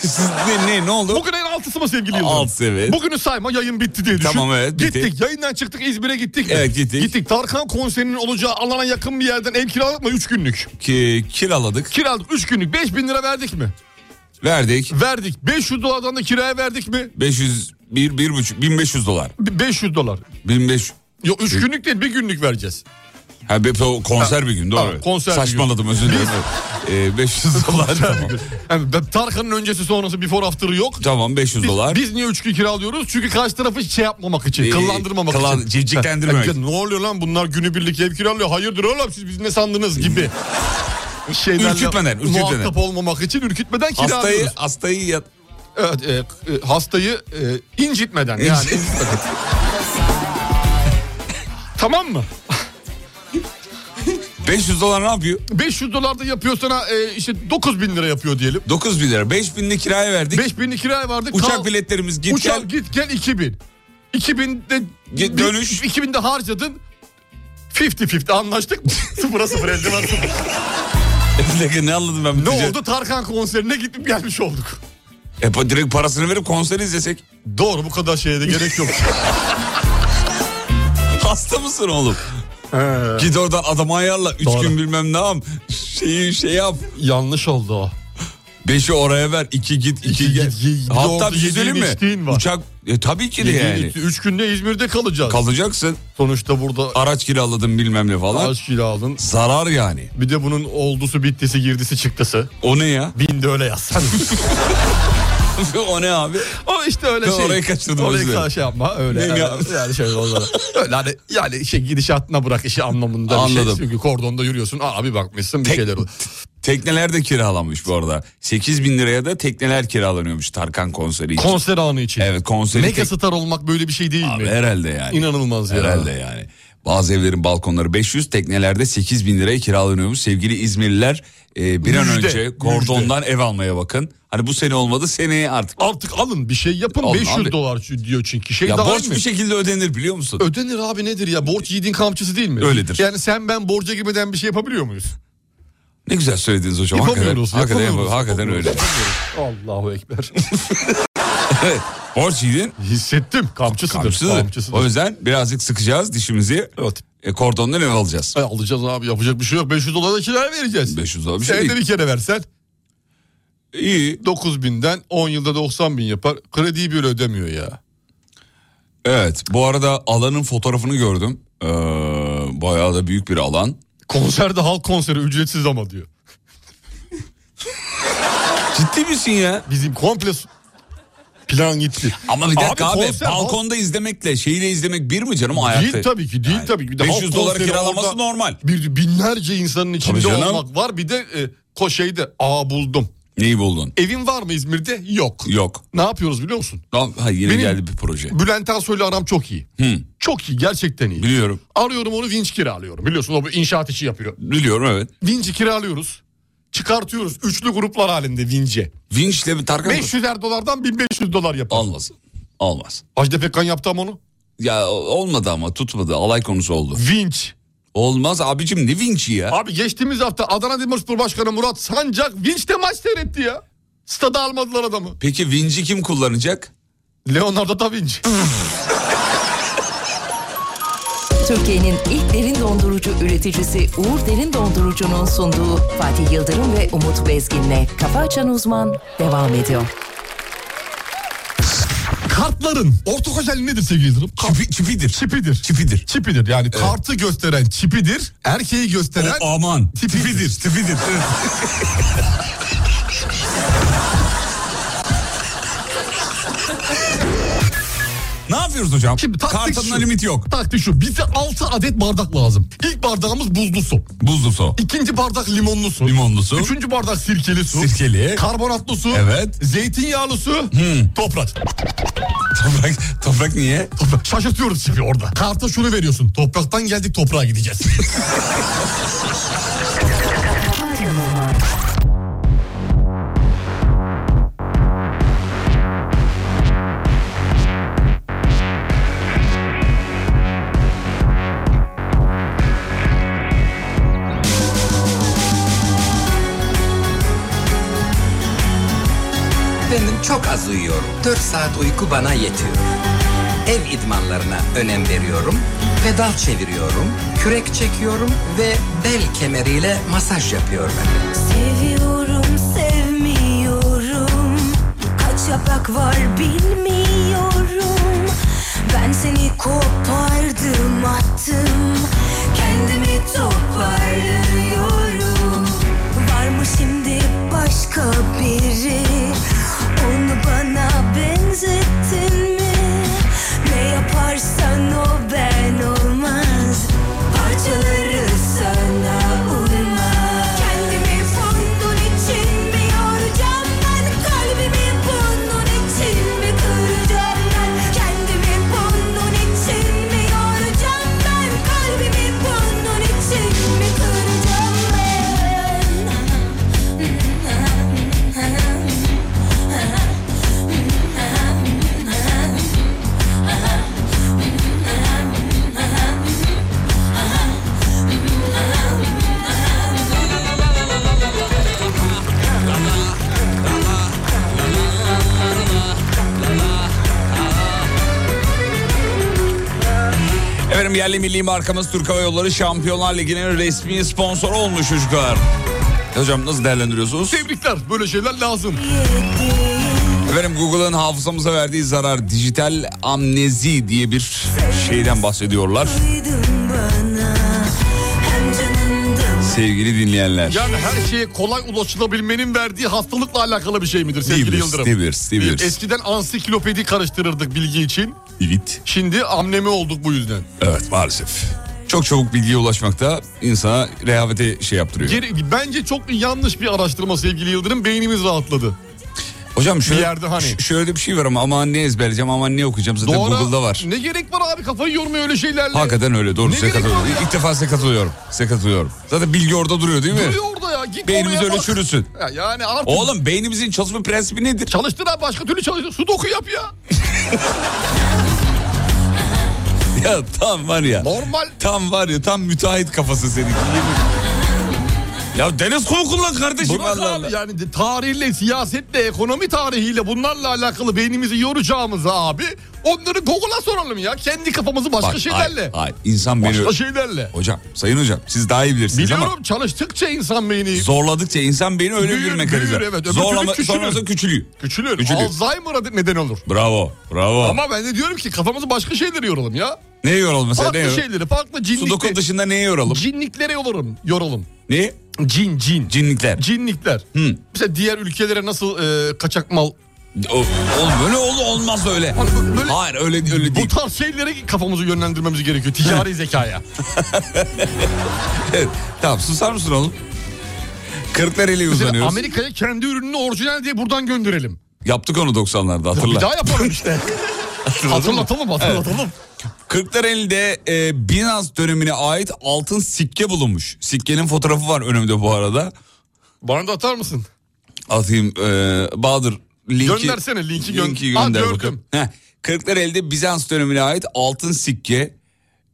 Speaker 4: Siz ne, ne, ne oldu?
Speaker 5: Bugün en altısı mı sevgili Yıldırım?
Speaker 4: Altısı, evet.
Speaker 5: Bugünü sayma yayın bitti diye düşün.
Speaker 4: Tamam, evet, bitti.
Speaker 5: Gittik yayından çıktık İzmir'e gittik. mi?
Speaker 4: Evet, gittik.
Speaker 5: Gittik Tarkan konserinin olacağı alana yakın bir yerden ev kiraladık mı 3 günlük?
Speaker 4: Ki, kiraladık.
Speaker 5: Kiraladık 3 günlük 5000 lira verdik mi?
Speaker 4: Verdik.
Speaker 5: Verdik. 500 dolardan da kiraya verdik mi?
Speaker 4: 500, bir, bir buçuk, 1500 dolar.
Speaker 5: Bi- 500 dolar.
Speaker 4: 1500.
Speaker 5: Yok 3 günlük değil bir günlük vereceğiz.
Speaker 4: Ha, be- o konser bir gün doğru.
Speaker 5: Tamam, konser bir gün.
Speaker 4: Saçmaladım özür dilerim. Ee,
Speaker 5: [LAUGHS]
Speaker 4: 500 dolar tamam.
Speaker 5: Yani ben- Tarkan'ın öncesi sonrası before after'ı yok.
Speaker 4: Tamam 500
Speaker 5: Biz,
Speaker 4: dolar.
Speaker 5: biz niye üç gün kiralıyoruz? Çünkü karşı tarafı şey yapmamak için,
Speaker 4: Ee,
Speaker 5: kıllandırmamak
Speaker 4: kılan-
Speaker 5: için.
Speaker 4: civciklendirmemek.
Speaker 5: Ya ne oluyor lan bunlar günübirlik ev kiralıyor. Hayırdır oğlum siz biz ne
Speaker 4: [LAUGHS]
Speaker 5: sandınız gibi. Şeylerle
Speaker 4: Ürkütmeden, ürkütmeden.
Speaker 5: Muhatap olmamak için ürkütmeden
Speaker 4: Hastayı,
Speaker 5: kiralıyoruz.
Speaker 4: hastayı yat...
Speaker 5: Evet, e, e, hastayı e, incitmeden yani. incitmeden. [LAUGHS] tamam mı?
Speaker 4: 500 dolar ne yapıyor?
Speaker 5: 500 dolar da yapıyor sana e, işte 9 bin lira yapıyor diyelim.
Speaker 4: 9 bin lira. 5 binini kiraya verdik.
Speaker 5: 5 bin kiraya vardı.
Speaker 4: Uçak
Speaker 5: kal-
Speaker 4: biletlerimiz git
Speaker 5: Uçak
Speaker 4: gel.
Speaker 5: git gel 2000. 2000'de
Speaker 4: Ge- dönüş.
Speaker 5: 2000'de harcadın. 50-50 anlaştık [LAUGHS] mı? Sıfıra sıfır elde var sıfır.
Speaker 4: Bir dakika, [LAUGHS] ne anladım ben?
Speaker 5: ne oldu? Tarkan konserine gidip gelmiş olduk.
Speaker 4: E, pa- direkt parasını verip konseri izlesek.
Speaker 5: Doğru bu kadar şeye de gerek [LAUGHS] yok.
Speaker 4: Hasta mısın oğlum? Git oradan adamı ayarla. 3
Speaker 5: Doğru.
Speaker 4: gün bilmem ne yap. Şeyi şey yap.
Speaker 5: Yanlış oldu o.
Speaker 4: 5'i oraya ver. 2 git 2
Speaker 5: İki
Speaker 4: gel.
Speaker 5: git, ye- bir de
Speaker 4: Hatta
Speaker 5: orada
Speaker 4: bir şey
Speaker 5: yediğin
Speaker 4: söyleyeyim
Speaker 5: içtiğin
Speaker 4: mi?
Speaker 5: var.
Speaker 4: Uçak e, tabii ki de yani.
Speaker 5: 3 günde İzmir'de kalacağız.
Speaker 4: Kalacaksın.
Speaker 5: Sonuçta burada
Speaker 4: Araç kiraladın bilmem ne falan.
Speaker 5: aşk aldın.
Speaker 4: Zarar yani.
Speaker 5: Bir de bunun oldusu bittisi girdisi çıktısı.
Speaker 4: O ne ya? [LAUGHS]
Speaker 5: Bin de öyle [LAUGHS] yazsan.
Speaker 4: o ne abi?
Speaker 5: O işte öyle
Speaker 4: Ben
Speaker 5: şey.
Speaker 4: orayı kaçırdım, özür
Speaker 5: Orayı
Speaker 4: dilerim.
Speaker 5: ka- şey yapma öyle.
Speaker 4: Neyim
Speaker 5: Yani,
Speaker 4: ya?
Speaker 5: [LAUGHS] yani şöyle olmalı. öyle hani yani şey gidişatına bırak işi anlamında bir şey.
Speaker 4: Anladım.
Speaker 5: Çünkü kordonda yürüyorsun abi bakmışsın bir
Speaker 4: Tek-
Speaker 5: şeyler oluyor.
Speaker 4: Tekneler de kiralamış bu arada. 8 bin liraya da tekneler kiralanıyormuş Tarkan konseri için.
Speaker 5: Konser anı için.
Speaker 4: evet konseri.
Speaker 5: Mega
Speaker 4: tek-
Speaker 5: star olmak böyle bir şey değil
Speaker 4: Abi
Speaker 5: mi?
Speaker 4: herhalde yani.
Speaker 5: İnanılmaz ya.
Speaker 4: Herhalde yani. Bazı evlerin balkonları 500, teknelerde 8 bin liraya kiralanıyormuş. Sevgili İzmirliler e, bir an
Speaker 5: Müjde,
Speaker 4: önce kordondan ev almaya bakın. Hani bu sene olmadı seneye artık.
Speaker 5: Artık alın bir şey yapın
Speaker 4: Alın
Speaker 5: 500
Speaker 4: abi.
Speaker 5: dolar şu- diyor çünkü. Şey
Speaker 4: Ya
Speaker 5: daha
Speaker 4: borç
Speaker 5: mı?
Speaker 4: bir şekilde ödenir biliyor musun?
Speaker 5: Ödenir abi nedir ya borç yiğidin kamçısı değil mi?
Speaker 4: Öyledir.
Speaker 5: Yani sen ben borca girmeden bir şey yapabiliyor muyuz?
Speaker 4: ne güzel söylediniz hocam.
Speaker 5: Yapamıyoruz,
Speaker 4: Hakikaten,
Speaker 5: yapamıyoruz,
Speaker 4: hakikaten,
Speaker 5: yapamıyoruz.
Speaker 4: öyle. [LAUGHS]
Speaker 5: Allahu Ekber.
Speaker 4: Evet, borç yedin.
Speaker 5: Hissettim kamçısıdır.
Speaker 4: Kamçısıdır.
Speaker 5: kamçısıdır.
Speaker 4: O yüzden birazcık sıkacağız dişimizi.
Speaker 5: Evet.
Speaker 4: E, kordondan ev alacağız.
Speaker 5: E, alacağız abi yapacak bir şey yok. 500 dolara kiraya vereceğiz.
Speaker 4: 500 dolar bir şey
Speaker 5: Senede
Speaker 4: değil.
Speaker 5: bir kere versen
Speaker 4: İyi.
Speaker 5: 9000'den 10 yılda 90 bin yapar. Krediyi bile ödemiyor ya.
Speaker 4: Evet bu arada alanın fotoğrafını gördüm. Ee, bayağı da büyük bir alan.
Speaker 5: Konserde halk konseri ücretsiz ama diyor.
Speaker 4: Ciddi misin ya?
Speaker 5: Bizim komple s- plan gitti.
Speaker 4: Ama bir dakika abi,
Speaker 5: konser halk-
Speaker 4: balkonda izlemekle şeyiyle izlemek bir mi canım ayakta?
Speaker 5: Değil tabii ki değil
Speaker 4: Yani
Speaker 5: tabii ki. Bir de
Speaker 4: 500
Speaker 5: halk
Speaker 4: dolara
Speaker 5: konseri
Speaker 4: kiralaması
Speaker 5: orada
Speaker 4: normal.
Speaker 5: Bir binlerce insanın içinde
Speaker 4: canım.
Speaker 5: olmak var. Bir de e, ko- şeyde aa buldum.
Speaker 4: Neyi buldun?
Speaker 5: Evin var mı İzmir'de? Yok.
Speaker 4: Yok.
Speaker 5: Ne yapıyoruz biliyor musun?
Speaker 4: Tamam, Ha, yine
Speaker 5: Benim-
Speaker 4: geldi bir proje.
Speaker 5: Bülent Ersoy'la aram çok iyi. Çok iyi gerçekten iyi.
Speaker 4: Biliyorum.
Speaker 5: Arıyorum onu vinç kiralıyorum. Biliyorsun o bir inşaat işi yapıyor.
Speaker 4: Biliyorum evet.
Speaker 5: Vinci kiralıyoruz. Çıkartıyoruz. Üçlü gruplar halinde Vinci.
Speaker 4: Vinç'le bir Tarkan...
Speaker 5: 500'er dolardan 1500 dolar yapar.
Speaker 4: Almaz. Almaz.
Speaker 5: Ajda Pekkan yaptı ama onu.
Speaker 4: Ya o- olmadı ama tutmadı. Alay konusu oldu.
Speaker 5: Vinç.
Speaker 4: Olmaz abicim ne Vinç'i ya?
Speaker 5: Abi geçtiğimiz hafta Adana Demirspor Başkanı Murat Sancak Vinç'te maç seyretti ya. Stada almadılar adamı.
Speaker 4: Peki Vinç'i kim kullanacak?
Speaker 5: Leonardo da Vinci.
Speaker 2: Türkiye'nin ilk derin dondurucu üreticisi Uğur Derin Dondurucu'nun sunduğu Fatih Yıldırım ve Umut Bezgin'le Kafa Açan Uzman devam ediyor.
Speaker 5: Kartların ortak özelliği nedir sevgili Yıldırım?
Speaker 4: Çipi, çipidir.
Speaker 5: Çipidir.
Speaker 4: Çipidir.
Speaker 5: Çipidir yani kartı gösteren çipidir. Erkeği gösteren
Speaker 4: O, aman.
Speaker 5: tipidir.
Speaker 4: Tipidir. evet. [LAUGHS] ne yapıyoruz hocam?
Speaker 5: Şimdi taktik
Speaker 4: Kartın
Speaker 5: şu.
Speaker 4: limiti yok.
Speaker 5: Taktik şu. Bize 6 adet bardak lazım. İlk bardağımız buzlu su.
Speaker 4: Buzlu su.
Speaker 5: İkinci bardak limonlu su.
Speaker 4: Limonlu su.
Speaker 5: Üçüncü bardak sirkeli su.
Speaker 4: Sirkeli.
Speaker 5: Karbonatlı su.
Speaker 4: Evet.
Speaker 5: Zeytinyağlı su. Toprak.
Speaker 4: [LAUGHS] Toprak, toprak niye?
Speaker 5: Toprak. Şaşırtıyoruz şimdi orada. Karta şunu veriyorsun. Topraktan geldik toprağa gideceğiz.
Speaker 8: Çok az uyuyorum. 4 saat uyku bana yetiyor. Ev idmanlarına önem veriyorum. Pedal çeviriyorum. Kürek çekiyorum ve bel kemeriyle masaj yapıyorum efendim.
Speaker 7: Seviyorum sevmiyorum Kaç yaprak var bilmiyorum Ben seni kopardım attım Kendimi toparlıyorum Var mı şimdi başka biri Onu bana benzettin mi Ne yaparsan o ben olmaz Parçaları sana uymaz Kendimi bunun için mi yoracağım ben Kalbimi bunun için mi kıracağım ben Kendimi bunun için mi yoracağım ben Kalbimi bunun için mi kıracağım ben
Speaker 4: Efendim yerli milli markamız Türk Hava Yolları Şampiyonlar Ligi'nin resmi sponsoru olmuş çocuklar. Hocam nasıl değerlendiriyorsunuz?
Speaker 5: [LAUGHS] Tebrikler böyle şeyler lazım.
Speaker 4: Efendim Google'ın hafızamıza verdiği zarar dijital amnezi diye bir şeyden bahsediyorlar.
Speaker 7: Duydun bana Hem canımda
Speaker 4: Sevgili dinleyenler.
Speaker 5: Yani her şeye kolay ulaşılabilmenin verdiği hastalıkla alakalı bir şey midir sevgili
Speaker 4: Diyebiliriz,
Speaker 5: Yıldırım? Ee,
Speaker 4: diyebiliriz, diyebiliriz.
Speaker 5: Eskiden ansiklopedi karıştırırdık bilgi için.
Speaker 4: Evet.
Speaker 5: Şimdi amnemi olduk bu yüzden.
Speaker 4: Evet maalesef. Çok çabuk bilgiye ulaşmakta insana rehavete şey yaptırıyor.
Speaker 5: Geri- bence çok yanlış bir araştırma sevgili Yıldırım. Beynimiz rahatladı.
Speaker 4: Hocam şöyle,
Speaker 5: bir yerde hani-
Speaker 4: ş- şöyle bir şey var ama aman ne ezberleyeceğim aman ne okuyacağım zaten
Speaker 5: Doğru.
Speaker 4: Google'da var.
Speaker 5: Ne gerek var abi kafayı yormaya öyle şeylerle.
Speaker 4: Hakikaten öyle doğru
Speaker 5: Ne
Speaker 4: size
Speaker 5: gerek var
Speaker 4: katılıyorum.
Speaker 5: ya?
Speaker 4: İlk defa size katılıyorum. Size katılıyorum. Zaten bilgi orada duruyor değil mi?
Speaker 5: Duruyor orada ya. Git
Speaker 4: Beynimiz
Speaker 5: oraya
Speaker 4: öyle
Speaker 5: bak.
Speaker 4: çürüsün.
Speaker 5: Ya yani artık
Speaker 4: Oğlum beynimizin çalışma prensibi nedir? [LAUGHS]
Speaker 5: çalıştır abi başka türlü çalıştır. Sudoku yap ya.
Speaker 4: Ya tam var ya.
Speaker 5: Normal.
Speaker 4: Tam var ya tam müteahhit kafası seninki. ya deniz kumu kullan kardeşim
Speaker 5: Bırak
Speaker 4: Allah
Speaker 5: abi
Speaker 4: Allah.
Speaker 5: yani de- tarihle, siyasetle, ekonomi tarihiyle bunlarla alakalı beynimizi yoracağımıza abi onları Google'a soralım ya. Kendi kafamızı başka
Speaker 4: Bak,
Speaker 5: şeylerle.
Speaker 4: Ay, ay, insan beni...
Speaker 5: başka şeylerle.
Speaker 4: Hocam, sayın hocam siz daha iyi bilirsiniz
Speaker 5: Biliyorum
Speaker 4: ama...
Speaker 5: çalıştıkça insan beyni
Speaker 4: Zorladıkça insan beyni öyle
Speaker 5: Büyür,
Speaker 4: bir mekanizma.
Speaker 5: büyür, evet. Öbür türlü
Speaker 4: Zorlama,
Speaker 5: küçülür.
Speaker 4: sonrası küçülüyor.
Speaker 5: küçülür.
Speaker 4: Küçülüyor.
Speaker 5: Alzheimer'a de- neden olur.
Speaker 4: Bravo, bravo.
Speaker 5: Ama ben de diyorum ki kafamızı başka şeylere yoralım ya.
Speaker 4: Ne yoralım mesela? Ne
Speaker 5: Farklı
Speaker 4: yoralım?
Speaker 5: şeyleri, farklı
Speaker 4: Sudoku
Speaker 5: cinlikleri.
Speaker 4: dışında ne yoralım?
Speaker 5: Cinliklere yoralım, yoralım.
Speaker 4: Ne?
Speaker 5: Cin, cin.
Speaker 4: Cinlikler.
Speaker 5: Cinlikler. Mesela diğer ülkelere nasıl e, kaçak mal
Speaker 4: O- Oğlum öyle ol, olmaz öyle.
Speaker 5: Abi böyle-
Speaker 4: Hayır öyle öyle
Speaker 5: bu
Speaker 4: değil.
Speaker 5: tarz şeylere kafamızı yönlendirmemiz gerekiyor. Ticari zekaya.
Speaker 4: Evet, tamam susar mısın oğlum? Kırklareli'ye
Speaker 5: Mesela
Speaker 4: uzanıyoruz.
Speaker 5: Amerika'ya kendi ürününü orijinal diye buradan gönderelim.
Speaker 4: Yaptık onu 90'larda hatırla.
Speaker 5: Bir daha yapalım işte.
Speaker 4: [LAUGHS] Hatırladın mı?
Speaker 5: hatırlatalım hatırlatalım.
Speaker 4: Kırklareli'de e, Bizans dönemine ait altın sikke bulunmuş. Sikkenin fotoğrafı var önümde bu arada.
Speaker 5: Bana da atar mısın?
Speaker 4: Atayım e, Bahadır linki.
Speaker 5: Göndersene, linki gö- Aa,
Speaker 4: gönder
Speaker 5: gördüm.
Speaker 4: bakalım. Heh, Kırklareli'de Bizans dönemine ait altın sikke.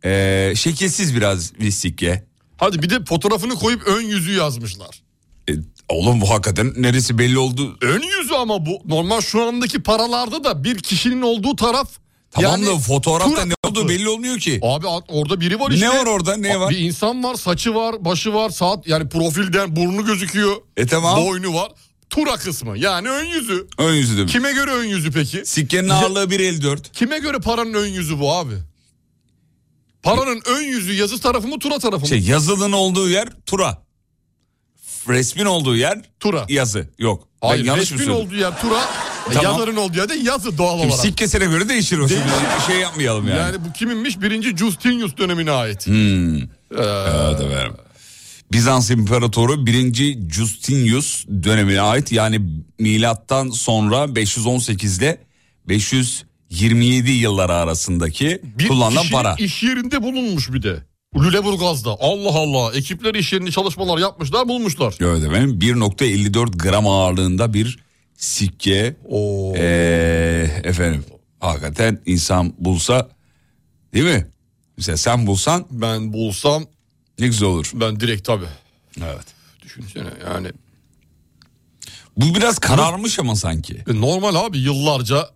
Speaker 4: e, şekilsiz biraz bir sikke.
Speaker 5: Hadi bir de fotoğrafını koyup ön yüzü yazmışlar.
Speaker 4: E, oğlum bu hakikaten neresi belli oldu.
Speaker 5: Ön yüzü ama bu normal şu andaki paralarda da bir kişinin olduğu taraf.
Speaker 4: Tamam
Speaker 5: yani
Speaker 4: da fotoğrafta
Speaker 5: tur
Speaker 4: ne olduğu
Speaker 5: atı.
Speaker 4: belli olmuyor ki.
Speaker 5: Abi at- orada biri var işte.
Speaker 4: Ne var orada, ne
Speaker 5: A-
Speaker 4: var?
Speaker 5: Bir insan var saçı var başı var saat yani profilden burnu gözüküyor.
Speaker 4: E tamam.
Speaker 5: Boynu var. Tura kısmı yani ön yüzü.
Speaker 4: Ön yüzü demiş.
Speaker 5: Kime göre ön yüzü peki?
Speaker 4: Sikkenin ağırlığı 1.54.
Speaker 5: Kime göre paranın ön yüzü bu abi? Paranın ön yüzü yazı tarafı mı tura tarafı mı?
Speaker 4: Şey yazılının olduğu yer tura. Resmin olduğu yer
Speaker 5: Tura.
Speaker 4: yazı. Yok. Ben
Speaker 5: Hayır
Speaker 4: yanlış mı
Speaker 5: resmin
Speaker 4: söyledim? E,
Speaker 5: olduğu yer tura, e,
Speaker 4: Tamam.
Speaker 5: yazarın olduğu yer de yazı doğal olarak.
Speaker 4: Sikkesine göre değişir o. Şimdi şey yapmayalım yani.
Speaker 5: yani. bu kiminmiş? Birinci Justinius dönemine ait.
Speaker 4: Evet efendim. Bizans İmparatoru 1. Justinius dönemine ait yani milattan sonra 518 ile 527 yılları arasındaki
Speaker 5: Bir
Speaker 4: kullanılan
Speaker 5: kişi
Speaker 4: para.
Speaker 5: iş yerinde bulunmuş bir de. Lüleburgaz'da. Allah Allah. Ekipler iş yerinde çalışmalar yapmışlar bulmuşlar.
Speaker 4: Evet efendim 1.54 gram ağırlığında bir sikke.
Speaker 5: Oo.
Speaker 4: Ee, efendim hakikaten insan bulsa değil mi? Mesela sen bulsan
Speaker 5: Ben bulsam
Speaker 4: ne güzel olur.
Speaker 5: ben direkt tabii.
Speaker 4: Evet.
Speaker 5: Düşünsene yani.
Speaker 4: Bu biraz kararmış ama sanki.
Speaker 5: E, normal abi yıllarca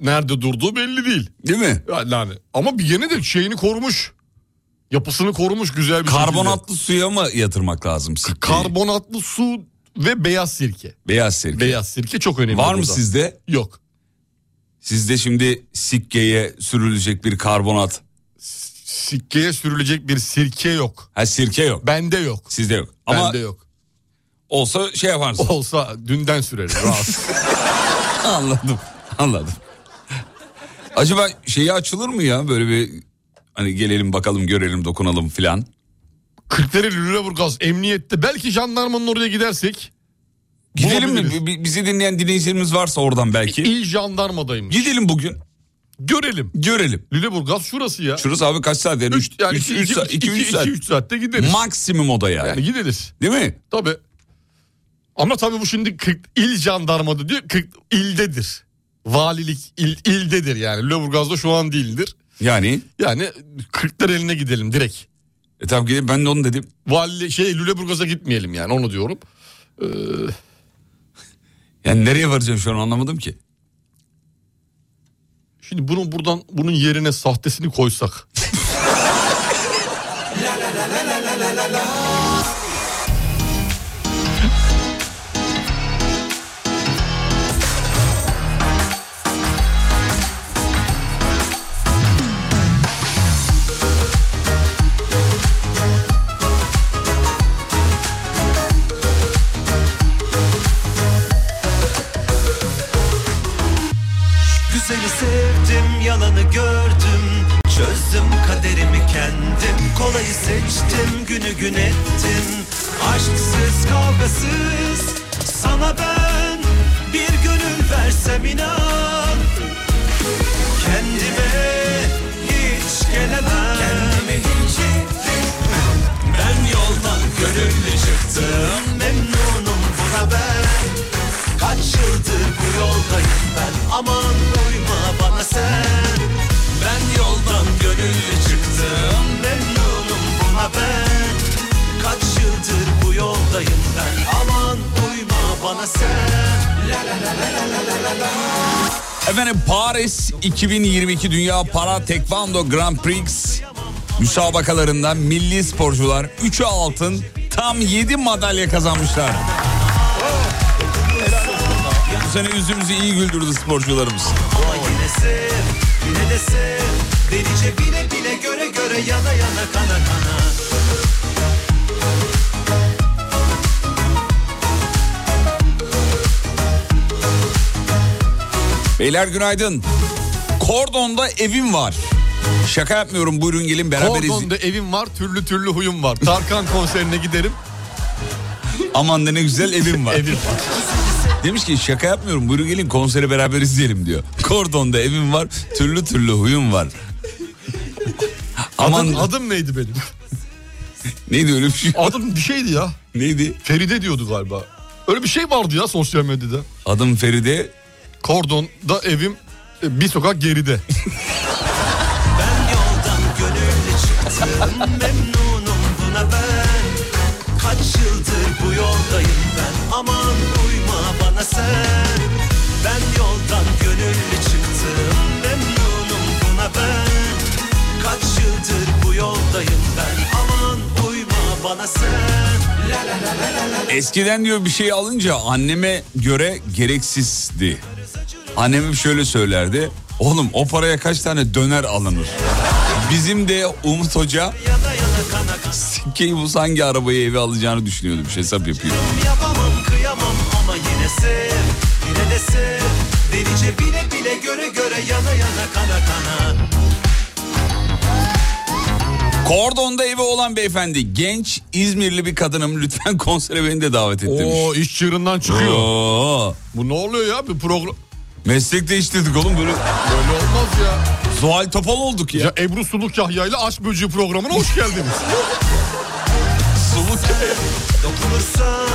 Speaker 5: nerede durduğu belli değil.
Speaker 4: Değil mi?
Speaker 5: Yani, yani ama bir yine de şeyini korumuş. Yapısını korumuş güzel bir şekilde.
Speaker 4: Karbonatlı suya mı yatırmak lazım sirkeyi?
Speaker 5: Karbonatlı su ve beyaz sirke.
Speaker 4: Beyaz sirke.
Speaker 5: Beyaz sirke çok önemli.
Speaker 4: Var mı
Speaker 5: burada.
Speaker 4: sizde?
Speaker 5: Yok.
Speaker 4: Sizde şimdi sikkeye sürülecek bir karbonat.
Speaker 5: Sirkeye sürülecek bir sirke yok.
Speaker 4: Ha sirke yok.
Speaker 5: Bende yok.
Speaker 4: Sizde yok. Ama
Speaker 5: Bende yok.
Speaker 4: olsa şey yaparsın.
Speaker 5: [LAUGHS] Olsa dünden sürerim
Speaker 4: [LAUGHS]
Speaker 5: rahat.
Speaker 4: Anladım. Anladım. Acaba şeyi açılır mı ya böyle bir hani gelelim bakalım görelim dokunalım filan.
Speaker 5: Kırklareli Lüleburgaz emniyette belki jandarmanın oraya gidersek
Speaker 4: Gidelim mi? Bi-
Speaker 5: Bulabiliriz.
Speaker 4: bi- Bizi dinleyen dinleyicilerimiz varsa oradan belki.
Speaker 5: il jandarmadaymış.
Speaker 4: Gidelim bugün.
Speaker 5: Görelim.
Speaker 4: Görelim.
Speaker 5: Lüleburgaz şurası ya.
Speaker 4: Şurası abi kaç saat yani? 3
Speaker 5: Üç, yani
Speaker 4: 3
Speaker 5: iki- iki-
Speaker 4: saat 2
Speaker 5: iki-
Speaker 4: 3
Speaker 5: iki-
Speaker 4: saat.
Speaker 5: üç saatte gideriz.
Speaker 4: Maksimum o da yani.
Speaker 5: yani gideriz.
Speaker 4: Değil mi?
Speaker 5: Tabii. Ama tabii bu şimdi 40 il jandarmadı diyor. 40 ildedir. Valilik il, ildedir yani. Lüleburgaz'da şu an değildir.
Speaker 4: Yani
Speaker 5: Yani 40'lar eline gidelim direkt.
Speaker 4: e tamam gidelim ben de onu dedim.
Speaker 5: Vali şey Lüleburgaz'a gitmeyelim yani onu diyorum.
Speaker 4: Yani nereye varacağım şu an anlamadım ki.
Speaker 5: Şimdi bunu buradan bunun yerine sahtesini koysak.
Speaker 9: Güzeli sevdim, yalanı gördüm Çözdüm kaderimi kendim Kolayı seçtim, günü gün ettim Aşksız, kavgasız Sana ben bir gönül versem inan Kendime hiç gelemem Kendime hiç Ben yoldan gönüllü çıktım Memnunum buna ben Kaç yıldır bu yoldayım ben Aman uyma bana sen Ben yoldan gönüllü çıktım Memnunum buna ben Kaç yıldır bu yoldayım ben Aman uyma bana sen La la la la la la la la la
Speaker 4: Efendim Paris 2022 Dünya Para Tekvando Grand Prix müsabakalarında milli sporcular 3'e altın tam 7 madalya kazanmışlar. Bu sene yüzümüzü iyi güldürdü sporcularımız.
Speaker 9: Ama yine sev, yine de sev Delice bile bile göre göre yana yana kana kana
Speaker 4: Beyler günaydın. Kordon'da evim var. Şaka yapmıyorum buyurun gelin beraber izleyelim.
Speaker 5: Kordon'da evim var türlü türlü huyum var. Tarkan konserine [LAUGHS] giderim.
Speaker 4: Aman da ne güzel evim
Speaker 5: [LAUGHS]
Speaker 4: var.
Speaker 5: Evim var.
Speaker 4: Demiş ki şaka yapmıyorum buyurun gelin konseri beraber izleyelim diyor. [LAUGHS] Kordon'da evim var türlü türlü huyum var. Aman
Speaker 5: Adım, adım neydi benim?
Speaker 4: neydi öyle bir şey?
Speaker 5: Adım bir şeydi ya.
Speaker 4: Neydi?
Speaker 5: Feride diyordu galiba. Öyle bir şey vardı ya sosyal medyada.
Speaker 4: Adım Feride.
Speaker 5: Kordon'da evim e, bir sokak geride.
Speaker 9: Yoldan gönüllü çıktım Memnunum buna ben Kaç yıldır bu yoldayım ben Aman uyma bana sen Ben yoldan gönüllü çıktım Memnunum buna ben Kaç yıldır bu yoldayım ben Aman uyma bana sen La la la la la la
Speaker 4: Eskiden diyor bir şey alınca anneme göre gereksizdi. Annem hep şöyle söylerdi. Oğlum o paraya kaç tane döner alınır? Bizim de Umut Hoca
Speaker 9: Yana yana kana kana
Speaker 4: sikkeyi bu hangi arabayı eve alacağını düşünüyordu. Bir şey hesap yapıyor.
Speaker 9: Yapamam kıyamam ama yine sev Yine de sev Delice bile bile göre göre yana yana kana kana
Speaker 4: Kordon'da evi olan beyefendi genç İzmirli bir kadınım lütfen [LAUGHS] konsere beni de davet et [LAUGHS] demiş.
Speaker 5: Oo iş çığırından çıkıyor.
Speaker 4: Oo.
Speaker 5: Bu ne oluyor ya bir program?
Speaker 4: Meslek değiştirdik oğlum böyle
Speaker 5: Böyle olmaz ya.
Speaker 4: Zuhal Topal olduk ya.
Speaker 5: Ya Ebru Suluk Yahya ile Aşk
Speaker 4: [LAUGHS]
Speaker 5: Böceği programına hoş geldiniz.
Speaker 4: Soluk.
Speaker 9: Dokunursan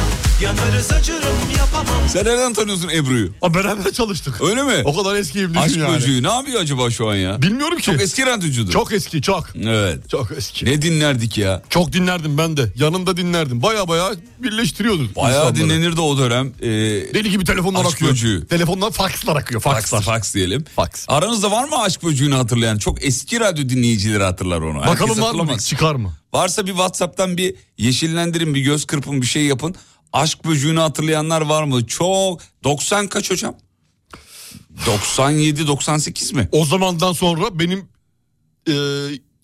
Speaker 10: Yanarız acırım yapamam
Speaker 4: Sen nereden tanıyorsun Ebru'yu?
Speaker 5: Ha, beraber çalıştık.
Speaker 4: Öyle mi?
Speaker 5: O kadar eskiyim düşün
Speaker 4: Aşk
Speaker 5: yani.
Speaker 4: böceği ne yapıyor acaba şu an ya?
Speaker 5: Bilmiyorum ki.
Speaker 4: Çok eski radyocudur.
Speaker 5: Çok eski çok.
Speaker 4: Evet.
Speaker 5: Çok eski.
Speaker 4: Ne dinlerdik ya?
Speaker 5: Çok dinlerdim ben de. Yanında dinlerdim. Baya baya birleştiriyordu.
Speaker 4: Bayağı
Speaker 5: insanları.
Speaker 4: dinlenirdi o dönem. Ee,
Speaker 5: Deli gibi telefonlar
Speaker 4: Aşk
Speaker 5: akıyor.
Speaker 4: böceği.
Speaker 5: Telefonlar fakslar akıyor.
Speaker 4: Fax,
Speaker 5: Fakslar.
Speaker 4: fax diyelim.
Speaker 5: Fax.
Speaker 4: Aranızda var mı aşk böceğini hatırlayan? Çok eski radyo dinleyicileri hatırlar onu. Herkes
Speaker 5: Bakalım var mı?
Speaker 4: hatırlamaz.
Speaker 5: Çıkar mı?
Speaker 4: Varsa bir Whatsapp'tan bir yeşillendirin, bir göz kırpın, bir şey yapın. Aşk böceğini hatırlayanlar var mı? Çok. 90 kaç hocam? 97, 98 mi?
Speaker 5: O zamandan sonra benim e,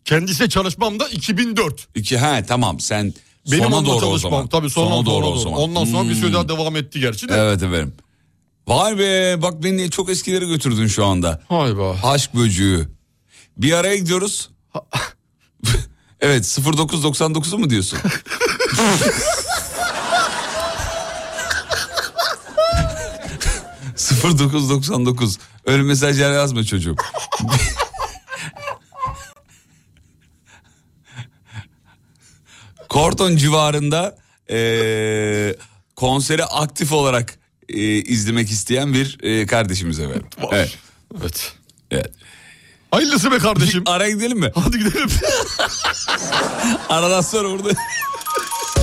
Speaker 5: kendisiyle çalışmam da 2004.
Speaker 4: İki, he tamam sen
Speaker 5: Benim
Speaker 4: sona
Speaker 5: onunla
Speaker 4: doğru o
Speaker 5: çalışmam.
Speaker 4: zaman.
Speaker 5: Tabii sonra,
Speaker 4: Sona
Speaker 5: doğru,
Speaker 4: o zaman.
Speaker 5: Ondan sonra bir
Speaker 4: Hmm.
Speaker 5: süre daha devam etti gerçi de.
Speaker 4: Evet efendim. Vay be bak beni çok eskilere götürdün şu anda.
Speaker 5: Hay be.
Speaker 4: Aşk böcüğü. Bir araya gidiyoruz. [LAUGHS] evet 0999'u mu diyorsun? ...0999... ...öyle mesajlar yazma çocuğum. Korton civarında... eee, ...konseri aktif olarak... eee, ...izlemek isteyen bir... eee, ...kardeşimiz efendim. Evet.
Speaker 5: Evet.
Speaker 4: Evet.
Speaker 5: Hayırlısı be kardeşim.
Speaker 4: Araya gidelim mi?
Speaker 5: [LAUGHS] Hadi gidelim. [LAUGHS]
Speaker 4: Aradan sonra burada.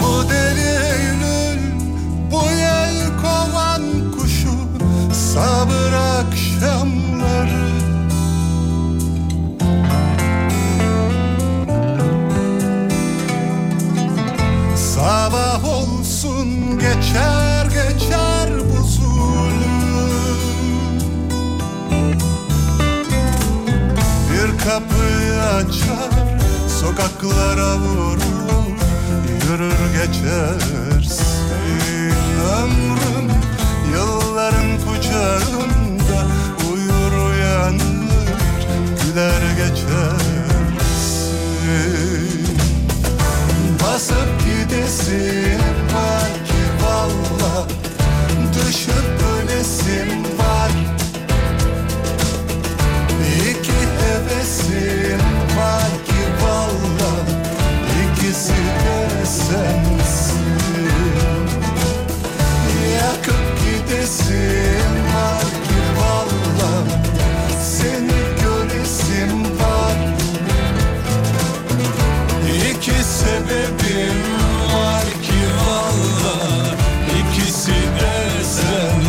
Speaker 10: Bu delilül bu yel kovan kuşu sabır akşamları Sabah olsun geçer geçer bu zulüm Bir kapıyı açar sokaklara vurur Yürür geçersin ömrüm Yılların kucağında uyur uyanır Güler geçersin Basıp gidesim var ki valla Düşüp ölesim var İki hevesim var ki valla ikisi de sensin Yakıp gidesim var ki valla Seni göresim var İki sebebim var ki valla ikisi de sensin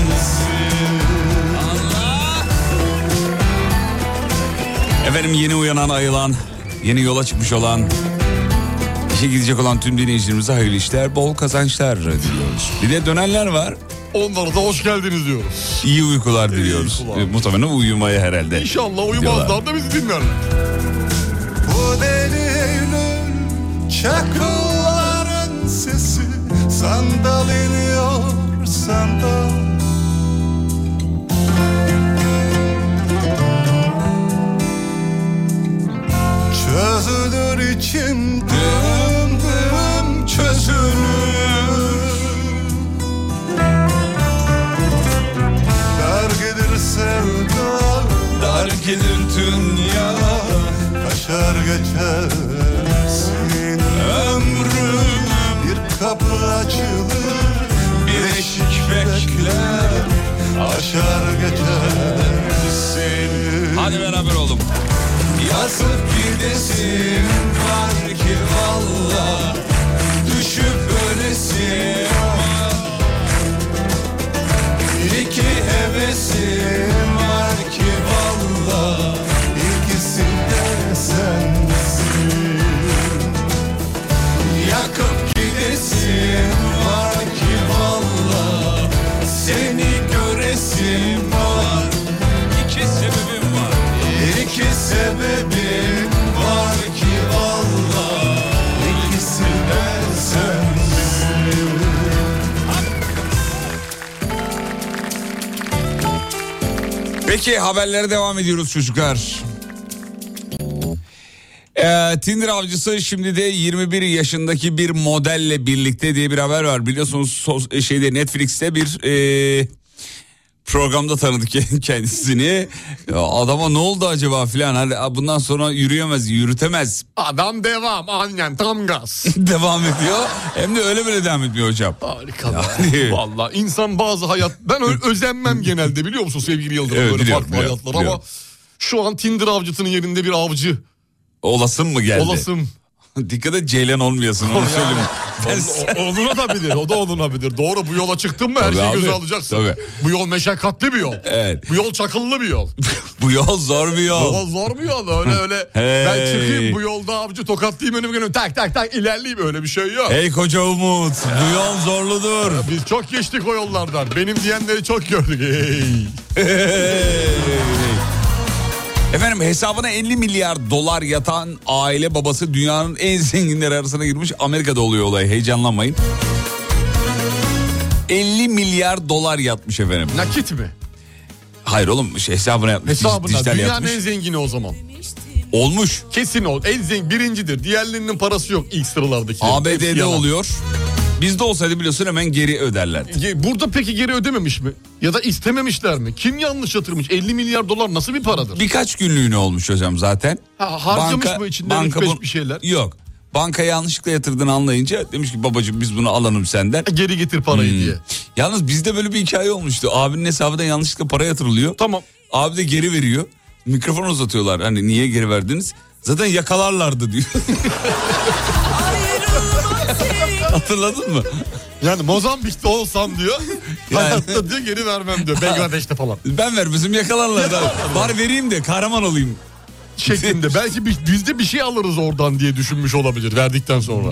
Speaker 4: Efendim yeni uyanan ayılan, yeni yola çıkmış olan, işe gidecek olan tüm dinleyicilerimize hayırlı işler, bol kazançlar diliyoruz. Bir de dönenler var,
Speaker 5: Onlara da hoş geldiniz diyoruz.
Speaker 4: iyi uykular diliyoruz.
Speaker 5: uykular.
Speaker 4: E, Muhtemelen uyumaya herhalde.
Speaker 5: İnşallah
Speaker 4: Diyorlar.
Speaker 5: uyumazlar da bizi dinlerler.
Speaker 10: Bu delinin çakılların sesi Sandal iniyor sandal Çözülür içim dım dım çözülür Dar gelir sevda Dar gelir dünya Kaşar geçersin ömrüm Bir kapı açılır Bir eşik bekler Aşar geçersin
Speaker 4: Hadi beraber oğlum.
Speaker 10: Yazıp gidesin var ki valla Düşüp ölesin İki hevesim var ki valla İkisi de sensin Yakıp gidesin var ki valla Seni göresim var
Speaker 4: İki sebebim var.
Speaker 10: İki sebebim
Speaker 4: Peki haberlere devam ediyoruz çocuklar. Ee, Tinder avcısı şimdi de 21 yaşındaki bir modelle birlikte diye bir haber var. Biliyorsunuz sos- e, şeyde Netflix'te bir ee, programda tanıdık [LAUGHS] kendisini. Ya Adama ne oldu acaba filan. Hani bundan sonra yürüyemez, yürütemez. [LAUGHS]
Speaker 5: Adam devam aynen tam gaz.
Speaker 4: devam ediyor. Hem de öyle böyle devam etmiyor hocam.
Speaker 5: [LAUGHS] Harika. be.
Speaker 4: Yani-
Speaker 5: Vallahi insan bazı hayat...
Speaker 4: [LAUGHS]
Speaker 5: Ben ö- özenmem genelde biliyor musun sevgili Yıldırım?
Speaker 4: Evet,
Speaker 5: böyle
Speaker 4: biliyorum,
Speaker 5: farklı
Speaker 4: biliyorum,
Speaker 5: hayatlar ama
Speaker 4: biliyorum.
Speaker 5: şu an Tinder avcısının yerinde bir avcı.
Speaker 4: Olasın mı geldi?
Speaker 5: Olasım.
Speaker 4: Dikkat et ceylan olmayasın onu söyleyeyim. Ben sen-
Speaker 5: O- Onun da bilir. O da onun bilir. Doğru bu yola çıktın mı her
Speaker 4: Tabii
Speaker 5: şeyi göze
Speaker 4: abi,
Speaker 5: alacaksın.
Speaker 4: tabii.
Speaker 5: Bu yol meşakkatli bir yol.
Speaker 4: Evet.
Speaker 5: Bu yol çakıllı bir
Speaker 4: [LAUGHS]
Speaker 5: yol.
Speaker 4: Bu yol zor bir yol.
Speaker 5: Ama zor bir yol öyle öyle. Ben
Speaker 4: Hey.
Speaker 5: çıkayım bu yolda avcı tokatlayayım önümü gönlüm. Tak tak tak ilerleyeyim öyle bir şey yok.
Speaker 4: Hey koca Umut bu yol zorludur.
Speaker 5: Biz çok geçtik o yollardan. Benim diyenleri çok gördük. Hey.
Speaker 4: Efendim hesabına 50 milyar dolar yatan aile babası dünyanın en zenginleri arasına girmiş. Amerika'da oluyor olay heyecanlanmayın. 50 milyar dolar yatmış efendim.
Speaker 5: Nakit mi?
Speaker 4: Hayır oğlum şey, hesabına yatmış.
Speaker 5: Hesabına
Speaker 4: dijital
Speaker 5: dünyanın
Speaker 4: yatmış.
Speaker 5: en zengini o zaman.
Speaker 4: Olmuş.
Speaker 5: Kesin o. En zengin birincidir. Diğerlerinin parası yok ilk sıralardaki. Hepsi
Speaker 4: ABD'de
Speaker 5: yalan.
Speaker 4: oluyor. Bizde olsaydı biliyorsun hemen geri öderlerdi.
Speaker 5: Ge- Burada peki geri ödememiş mi? Ya da istememişler mi? Kim yanlış yatırmış? 50 milyar dolar nasıl bir paradır?
Speaker 4: Birkaç günlüğüne olmuş hocam zaten.
Speaker 5: Ha, harcamış mı içinden üç beş
Speaker 4: bu-
Speaker 5: bir şeyler?
Speaker 4: Yok. Banka yanlışlıkla yatırdığını anlayınca demiş ki babacığım biz bunu alalım senden.
Speaker 5: Geri getir
Speaker 4: Hmm.
Speaker 5: parayı diye.
Speaker 4: Yalnız bizde böyle bir hikaye olmuştu. Abinin hesabına yanlışlıkla para yatırılıyor.
Speaker 5: Tamam.
Speaker 4: Abi de geri veriyor. Mikrofon uzatıyorlar. Hani niye geri verdiniz? Zaten yakalarlardı diyor. [LAUGHS] Hatırladın mı?
Speaker 5: Yani Mozambik'te olsam diyor.
Speaker 4: [LAUGHS] Yani.
Speaker 5: Hayatta diyor geri vermem diyor.
Speaker 4: [LAUGHS]
Speaker 5: Bangladeş'te falan.
Speaker 4: Ben vermesem yakalarlardı. abi. Var vereyim de kahraman olayım.
Speaker 5: Şeklinde. Belki bi- biz de bir şey alırız oradan diye düşünmüş olabilir
Speaker 4: [LAUGHS]
Speaker 5: verdikten sonra.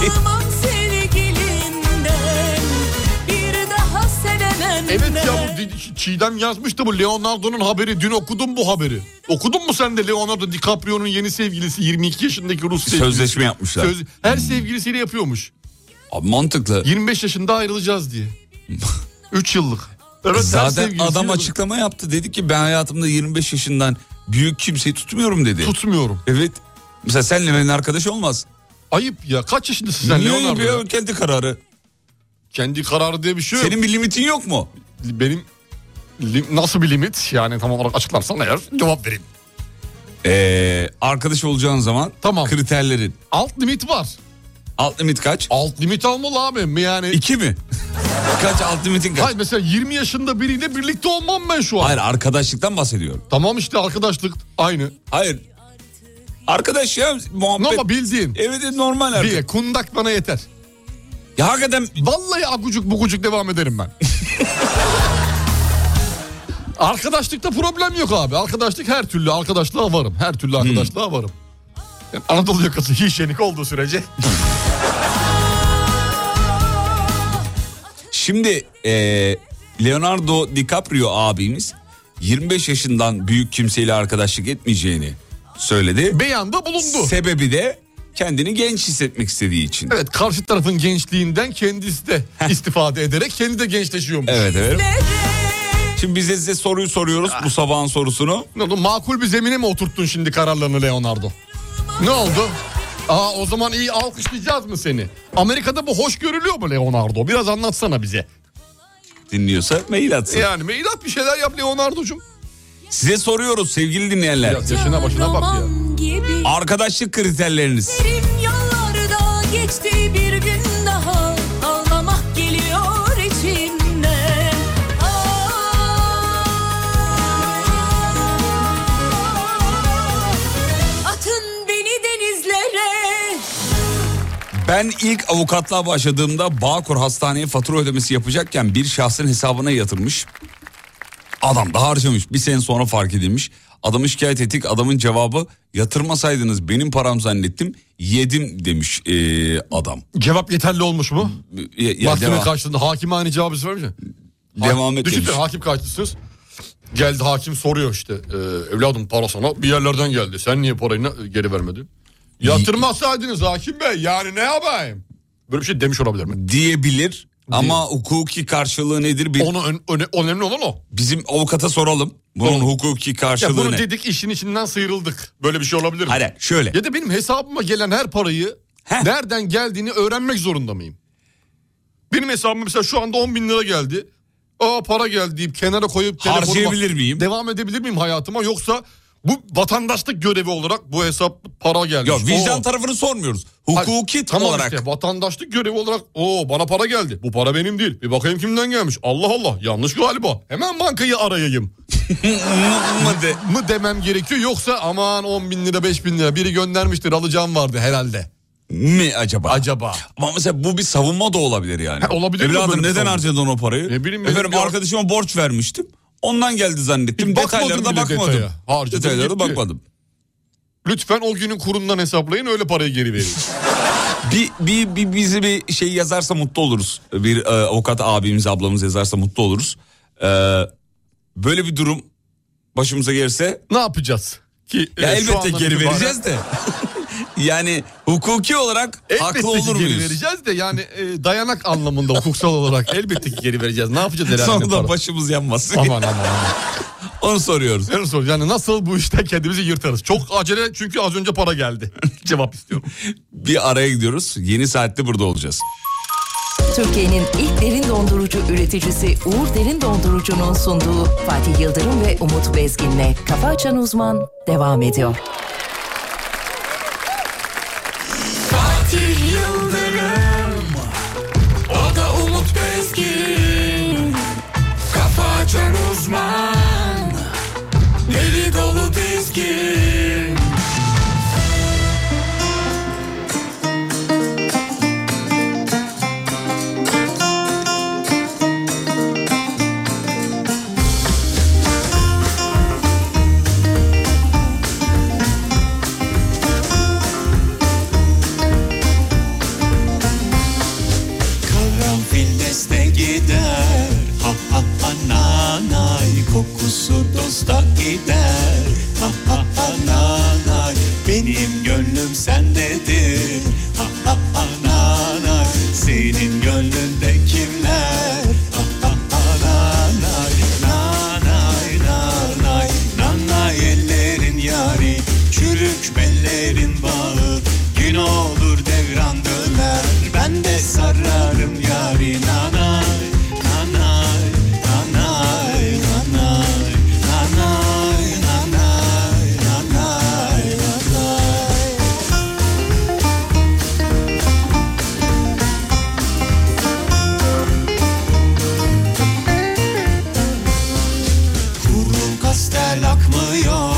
Speaker 11: Ayrılmam sevgilinden Bir daha sevemem
Speaker 5: evet ya bu di- Çiğdem yazmıştı bu Leonardo'nun haberi. Dün okudum bu haberi. Okudun mu sen de Leonardo DiCaprio'nun yeni sevgilisi 22 yaşındaki Rus sevgilisi.
Speaker 4: Sözleşme yapmışlar. Hmm.
Speaker 5: Söz- her sevgilisiyle yapıyormuş.
Speaker 4: Abi mantıklı.
Speaker 5: 25 yaşında ayrılacağız diye. 3 yıllık. Evet, her
Speaker 4: Zaten
Speaker 5: sevgilisiyle
Speaker 4: adam
Speaker 5: de-
Speaker 4: açıklama yaptı. Dedi ki ben hayatımda 25 yaşından büyük kimseyi tutmuyorum dedi.
Speaker 5: Tutmuyorum.
Speaker 4: Evet. Mesela senle benim arkadaş olmaz.
Speaker 5: Ayıp ya. Kaç yaşındasın sen
Speaker 4: Niye
Speaker 5: Leonardo?
Speaker 4: yapıyor? Kendi kararı.
Speaker 5: Kendi kararı diye bir şey yok.
Speaker 4: Senin bir limitin yok mu?
Speaker 5: benim lim- nasıl bir limit yani tam olarak açıklarsan eğer cevap vereyim.
Speaker 4: Ee, arkadaş olacağın zaman
Speaker 5: Tamam.
Speaker 4: kriterlerin.
Speaker 5: Alt limit var.
Speaker 4: Alt limit kaç?
Speaker 5: Alt limit almalı abi yani.
Speaker 4: 2 mi? [LAUGHS] kaç alt limitin kaç?
Speaker 5: Hayır
Speaker 4: Hayır.
Speaker 5: mesela 20 yaşında biriyle birlikte olmam ben şu an.
Speaker 4: arkadaşlıktan bahsediyorum.
Speaker 5: Tamam işte arkadaşlık aynı.
Speaker 4: Hayır. Arkadaş ya
Speaker 5: Ne
Speaker 4: muhabbet.
Speaker 5: ama bildiğin.
Speaker 4: Evet evet, normal arkadaş.
Speaker 5: Bir kundak bana yeter.
Speaker 4: Ya hakikaten
Speaker 5: Vallahi agucuk bugucuk devam ederim ben. Arkadaşlıkta problem yok abi. Arkadaşlık her türlü arkadaşlığa varım. Her türlü arkadaşlığa varım. Yani Anadolu yakası hişenik olduğu sürece.
Speaker 4: Şimdi eee, Leonardo DiCaprio abimiz 25 yaşından büyük kimseyle arkadaşlık etmeyeceğini söyledi.
Speaker 5: Beyanda bulundu.
Speaker 4: Sebebi de kendini genç hissetmek istediği için.
Speaker 5: Evet karşı tarafın gençliğinden kendisi de istifade ederek kendi de gençleşiyormuş.
Speaker 4: Evet evet. Şimdi biz de size soruyu soruyoruz bu sabahın sorusunu.
Speaker 5: Ne oldu makul bir zemine mi oturttun şimdi kararlarını Leonardo? Ne oldu? Aa o zaman iyi alkışlayacağız mı seni? Amerika'da bu hoş görülüyor mu Leonardo? Biraz anlatsana bize.
Speaker 4: Dinliyorsa mail atsın.
Speaker 5: Yani meydat bir şeyler yap Leonardo'cum.
Speaker 4: Size soruyoruz sevgili dinleyenler.
Speaker 5: Ya yaşına başına bak ya.
Speaker 11: gibi
Speaker 4: Arkadaşlık kriterleriniz.
Speaker 11: Derim yollarda geçti bir gün daha Ağlamak geliyor Ah, içimden Aa, Atın beni denizlere
Speaker 4: Ben ilk avukatlığa başladığımda Bağkur Hastane'ye fatura ödemesi yapacakken bir şahsın hesabına yatırmış. Adam da harcamış. Bir sene sonra fark edilmiş. Adamı şikayet ettik. Adamın cevabı yatırmasaydınız benim param zannettim. Yedim demiş ee, adam.
Speaker 5: Cevap yeterli olmuş mu?
Speaker 4: Ya- ya
Speaker 5: Mahkeme
Speaker 4: devam,
Speaker 5: karşılığında hakime aynı cevabı vermiş mi?
Speaker 4: devam et
Speaker 5: Düşünsene
Speaker 4: demiş.
Speaker 5: hakim karşısınız. Geldi hakim soruyor işte. "Ee, evladım para sana bir yerlerden geldi. Sen niye parayı ne- geri vermedin? Yatırmazsaydınız hakim bey yani ne yapayım? Böyle bir şey demiş olabilir mi?
Speaker 4: Diyebilir Ama hukuki karşılığı nedir? Bir,
Speaker 5: Onu ön- öne- önemli olan o.
Speaker 4: Bizim avukata soralım. Bunun hukuki
Speaker 5: Ya
Speaker 4: karşılığı
Speaker 5: bunu
Speaker 4: ne?
Speaker 5: dedik işin içinden sıyrıldık. Böyle bir şey olabilir mi?
Speaker 4: Hayır şöyle.
Speaker 5: Ya da benim hesabıma gelen her parayı nereden geldiğini öğrenmek zorunda mıyım? Benim hesabıma mesela şu anda 10 bin lira geldi. Aa para geldi deyip kenara koyup telefonuma
Speaker 4: Harcayabilir miyim?
Speaker 5: Devam edebilir miyim hayatıma yoksa bu vatandaşlık görevi olarak bu hesap para gelmiş.
Speaker 4: Yok vicdan
Speaker 5: Oo.
Speaker 4: tarafını sormuyoruz.
Speaker 5: Hayır,
Speaker 4: Hukuki
Speaker 5: tamam
Speaker 4: olarak.
Speaker 5: işte vatandaşlık görevi olarak o bana para geldi. Bu para benim değil. Bir bakayım kimden gelmiş. Allah Allah yanlış galiba. Hemen bankayı arayayım.
Speaker 4: Mı de-
Speaker 5: mı demem gerekiyor yoksa aman 10 bin lira 5 bin lira biri göndermiştir alacağım vardı herhalde.
Speaker 4: mi acaba?
Speaker 5: Acaba.
Speaker 4: Ama mesela bu bir savunma da olabilir yani.
Speaker 5: Ha, olabilir mi böyle
Speaker 4: Evladım
Speaker 5: bir
Speaker 4: neden
Speaker 5: savunma?
Speaker 4: harcadın o parayı?
Speaker 5: Ne bileyim,
Speaker 4: Efendim
Speaker 5: bir-
Speaker 4: arkadaşıma borç vermiştim. Ondan geldi zannettim.
Speaker 5: Hiç bakmadım
Speaker 4: Detaylara da
Speaker 5: bile
Speaker 4: bakmadım.
Speaker 5: detaya. Harcadım
Speaker 4: Detaylara da
Speaker 5: gitti.
Speaker 4: bakmadım.
Speaker 5: Lütfen o günün kurundan hesaplayın öyle parayı geri verin.
Speaker 4: Bir, bir, bir bizi bir şey yazarsa mutlu oluruz. Bir e, avukat abimiz ablamız yazarsa mutlu oluruz. E, böyle bir durum başımıza gelirse
Speaker 5: [LAUGHS] ne yapacağız? Ki
Speaker 4: ya
Speaker 5: e, şu
Speaker 4: elbette
Speaker 5: andan
Speaker 4: geri
Speaker 5: itibaren-
Speaker 4: vereceğiz de. [LAUGHS] yani hukuki olarak
Speaker 5: Elbette
Speaker 4: haklı
Speaker 5: ki
Speaker 4: olur
Speaker 5: geri
Speaker 4: muyuz? [LAUGHS]
Speaker 5: vereceğiz de yani e, dayanak anlamında hukuksal olarak elbette ki geri vereceğiz. Ne yapacağız herhalde?
Speaker 4: Sonra da
Speaker 5: para?
Speaker 4: başımız yanmasın.
Speaker 5: Aman aman aman.
Speaker 4: Onu soruyoruz.
Speaker 5: Ben soruyorum, Yani nasıl bu işten kendimizi yırtarız? Çok acele çünkü az önce para geldi. [LAUGHS] Cevap istiyorum.
Speaker 4: Bir araya gidiyoruz. Yeni saatte burada olacağız.
Speaker 2: Türkiye'nin ilk derin dondurucu üreticisi Uğur Derin Dondurucu'nun sunduğu Fatih Yıldırım ve Umut Bezgin'le Kafa Açan Uzman devam ediyor.
Speaker 12: O da Umut Bezgin Kafa açan uzman Deli dolu dizgin Karanfil deste gider Ha ha ha nanay Kokusu dosta gider Ha ha ha nanay Benim gönlüm sendedir Ha ha ha nanay Senin gönlünde kimler Ha ha ha nanay Nanay nanay Nanay ellerin yari Çürük bellerin bağı Gün olur devran döner Ben de sararım yari Nanay Nanay Nanay Nanay Nanay Nanay Nanay Nanay Kurun kastel akmıyor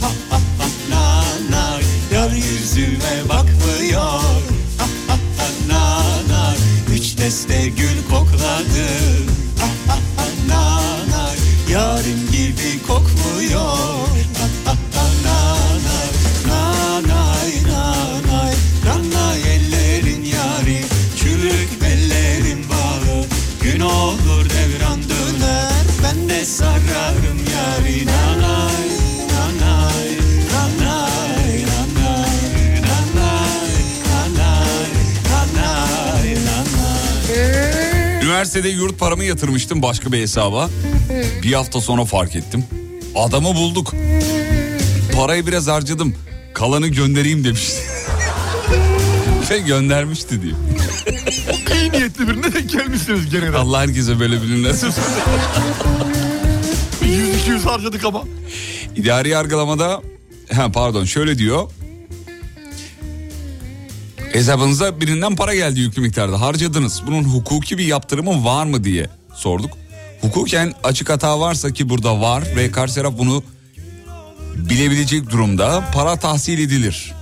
Speaker 12: Ha ha ha nanay Yar yüzüme bakmıyor Ha ha ha nanay Üç deste gül kokladı Ha ha ha nanay Yarim gibi kokmuyor Ha ha ha nanay Nanay nanay Nanay ellerin yari Çürük bellerin bağlı Gün olur devran döner Ben de sararım yari Nanay Nanay Nanay Nanay Nanay Nanay Nanay Nanay
Speaker 4: Üniversitede yurt paramı yatırmıştım başka bir hesaba. Bir hafta sonra fark ettim. Adamı bulduk. Parayı biraz harcadım. Kalanı göndereyim [LAUGHS] demişti. Ve göndermişti diye.
Speaker 5: İyi niyetli birine denk gelmişsiniz gene de.
Speaker 4: Allah herkese böyle birini nasip.
Speaker 5: 100-200 harcadık ama.
Speaker 4: İdari yargılamada ha, pardon şöyle diyor. Hesabınıza birinden para geldi yüklü miktarda harcadınız. Bunun hukuki bir yaptırımı var mı diye sorduk. Hukuken açık hata varsa ki burada var ve karşı taraf bunu bilebilecek durumda para tahsil edilir.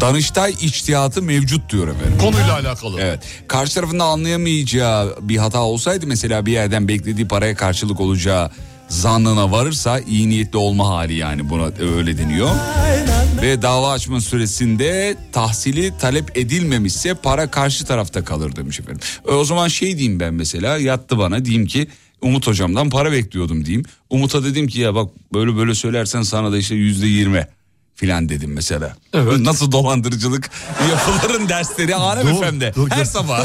Speaker 4: Danıştay içtihatı mevcut diyor efendim.
Speaker 5: Konuyla alakalı.
Speaker 4: Evet. Karşı tarafında anlayamayacağı bir hata olsaydı mesela bir yerden beklediği paraya karşılık olacağı zannına varırsa iyi niyetli olma hali yani buna öyle deniyor. Ve dava açma süresinde tahsili talep edilmemişse para karşı tarafta kalır demiş efendim. E, o zaman şey diyeyim ben mesela yattı bana diyeyim ki Umut hocamdan para bekliyordum diyeyim. Umut'a dedim ki ya bak böyle böyle söylersen sana da işte yüzde yirmi filan dedim mesela. Nasıl dolandırıcılık [LAUGHS] yapıların dersleri Alem
Speaker 5: Dur,
Speaker 4: FM'de
Speaker 5: dur,
Speaker 4: her [LAUGHS]
Speaker 5: dur.
Speaker 4: sabah.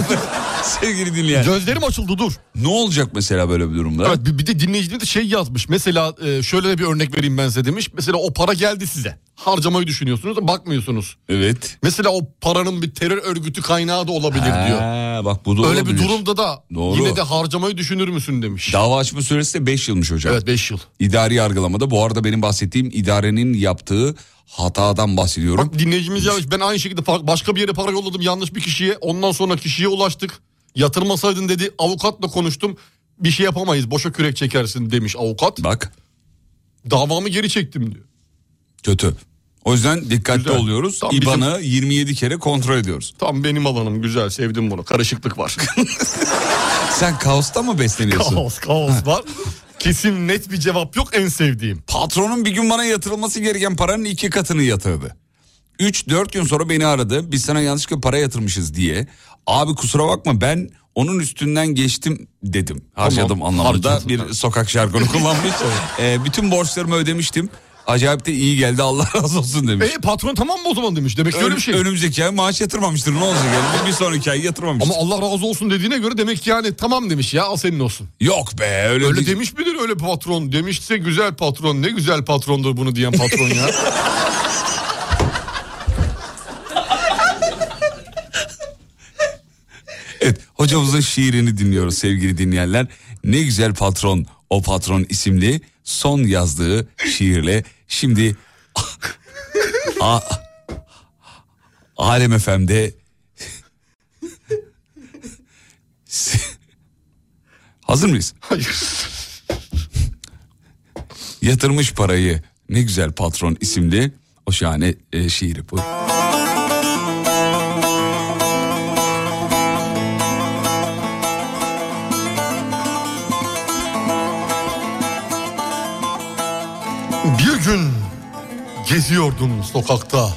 Speaker 4: Sevgili dinleyen.
Speaker 5: Gözlerim açıldı dur.
Speaker 4: Ne olacak mesela böyle bir durumda?
Speaker 5: Evet bir, bir de dinleyicimiz de şey yazmış. Mesela e, şöyle de bir örnek vereyim ben size demiş. Mesela o para geldi size. Harcamayı düşünüyorsunuz da bakmıyorsunuz.
Speaker 4: Evet.
Speaker 5: Mesela o paranın bir terör örgütü kaynağı da olabilir diyor.
Speaker 4: Ha, bak bu da
Speaker 5: Öyle
Speaker 4: olabilir.
Speaker 5: bir durumda da
Speaker 4: Doğru.
Speaker 5: yine de harcamayı düşünür müsün demiş.
Speaker 4: Dava açma süresi de 5 yılmış hocam.
Speaker 5: Evet 5 yıl.
Speaker 4: İdari yargılamada bu arada benim bahsettiğim idarenin yaptığı hatadan bahsediyorum.
Speaker 5: Bak dinleyicimiz yazmış ben aynı şekilde fa- başka bir yere para yolladım yanlış bir kişiye. Ondan sonra kişiye ulaştık. Yatırmasaydın dedi avukatla konuştum. Bir şey yapamayız boşa kürek çekersin demiş avukat.
Speaker 4: Bak
Speaker 5: Davamı geri çektim diyor.
Speaker 4: kötü. O yüzden dikkatli
Speaker 5: Güzel.
Speaker 4: oluyoruz.
Speaker 5: Tam bizim-
Speaker 4: İBAN'ı 27 kere kontrol ediyoruz.
Speaker 5: Tam benim alanım güzel sevdim bunu karışıklık var. [LAUGHS]
Speaker 4: Sen kaosta mı besleniyorsun?
Speaker 5: kaos kaos var. Kesin net bir cevap yok en sevdiğim.
Speaker 4: Patronum bir gün bana yatırılması gereken paranın iki katını yatırdı. 3-4 gün sonra beni aradı. Biz sana yanlışlıkla para yatırmışız diye. Abi kusura bakma ben onun üstünden geçtim dedim. Harcadım anlamında
Speaker 5: harcadın.
Speaker 4: bir sokak jargonu
Speaker 5: [LAUGHS]
Speaker 4: kullanmış. Ee, bütün borçlarımı ödemiştim. Acayip de iyi geldi Allah [LAUGHS] razı olsun demiş.
Speaker 5: E patron tamam mı o zaman demiş. Demek ki öyle bir şey.
Speaker 4: Önümüzdeki ay maaş yatırmamıştır ne olacak yani bir sonraki ay yatırmamıştır.
Speaker 5: Ama Allah razı olsun dediğine göre demek ki yani tamam demiş ya al senin olsun.
Speaker 4: Yok be öyle,
Speaker 5: Öyle
Speaker 4: değil.
Speaker 5: demiş midir öyle patron? Demişse güzel patron ne güzel patrondur bunu diyen patron ya.
Speaker 4: [LAUGHS] Evet hocamızın şiirini dinliyoruz sevgili dinleyenler. Ne güzel patron o patron isimli son yazdığı şiirle şimdi [LAUGHS] A Alem FM'de [LAUGHS] Hazır mıyız?
Speaker 5: Hayır.
Speaker 4: Yatırmış parayı ne güzel patron isimli o şahane e, şiiri bu.
Speaker 5: Bir gün geziyordum sokakta.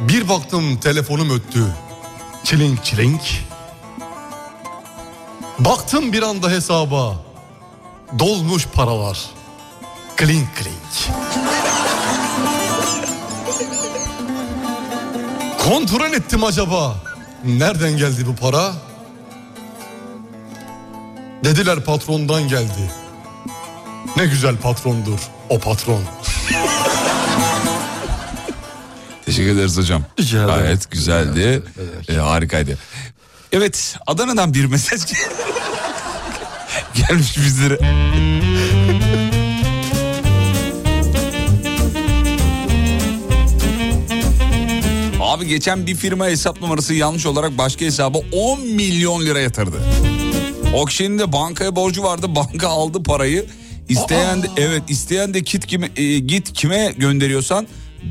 Speaker 5: Bir baktım telefonum öttü. Çilink çilink. Baktım bir anda hesaba. Dolmuş paralar. Klink klink. Kontrol ettim acaba. Nereden geldi bu para? Dediler patrondan geldi. Ne güzel patrondur o patron.
Speaker 4: Teşekkür ederiz hocam.
Speaker 5: Rica ederim.
Speaker 4: Gayet güzeldi. Ee, harikaydı. Evet Adana'dan bir mesaj [LAUGHS] gel- gelmiş bizlere. Abi geçen bir firma hesap numarası yanlış olarak başka hesaba 10 milyon lira yatırdı. Okşin'in de bankaya borcu vardı. Banka aldı parayı. İsteyen de, evet isteyen de kit kime, e, git kime gönderiyorsan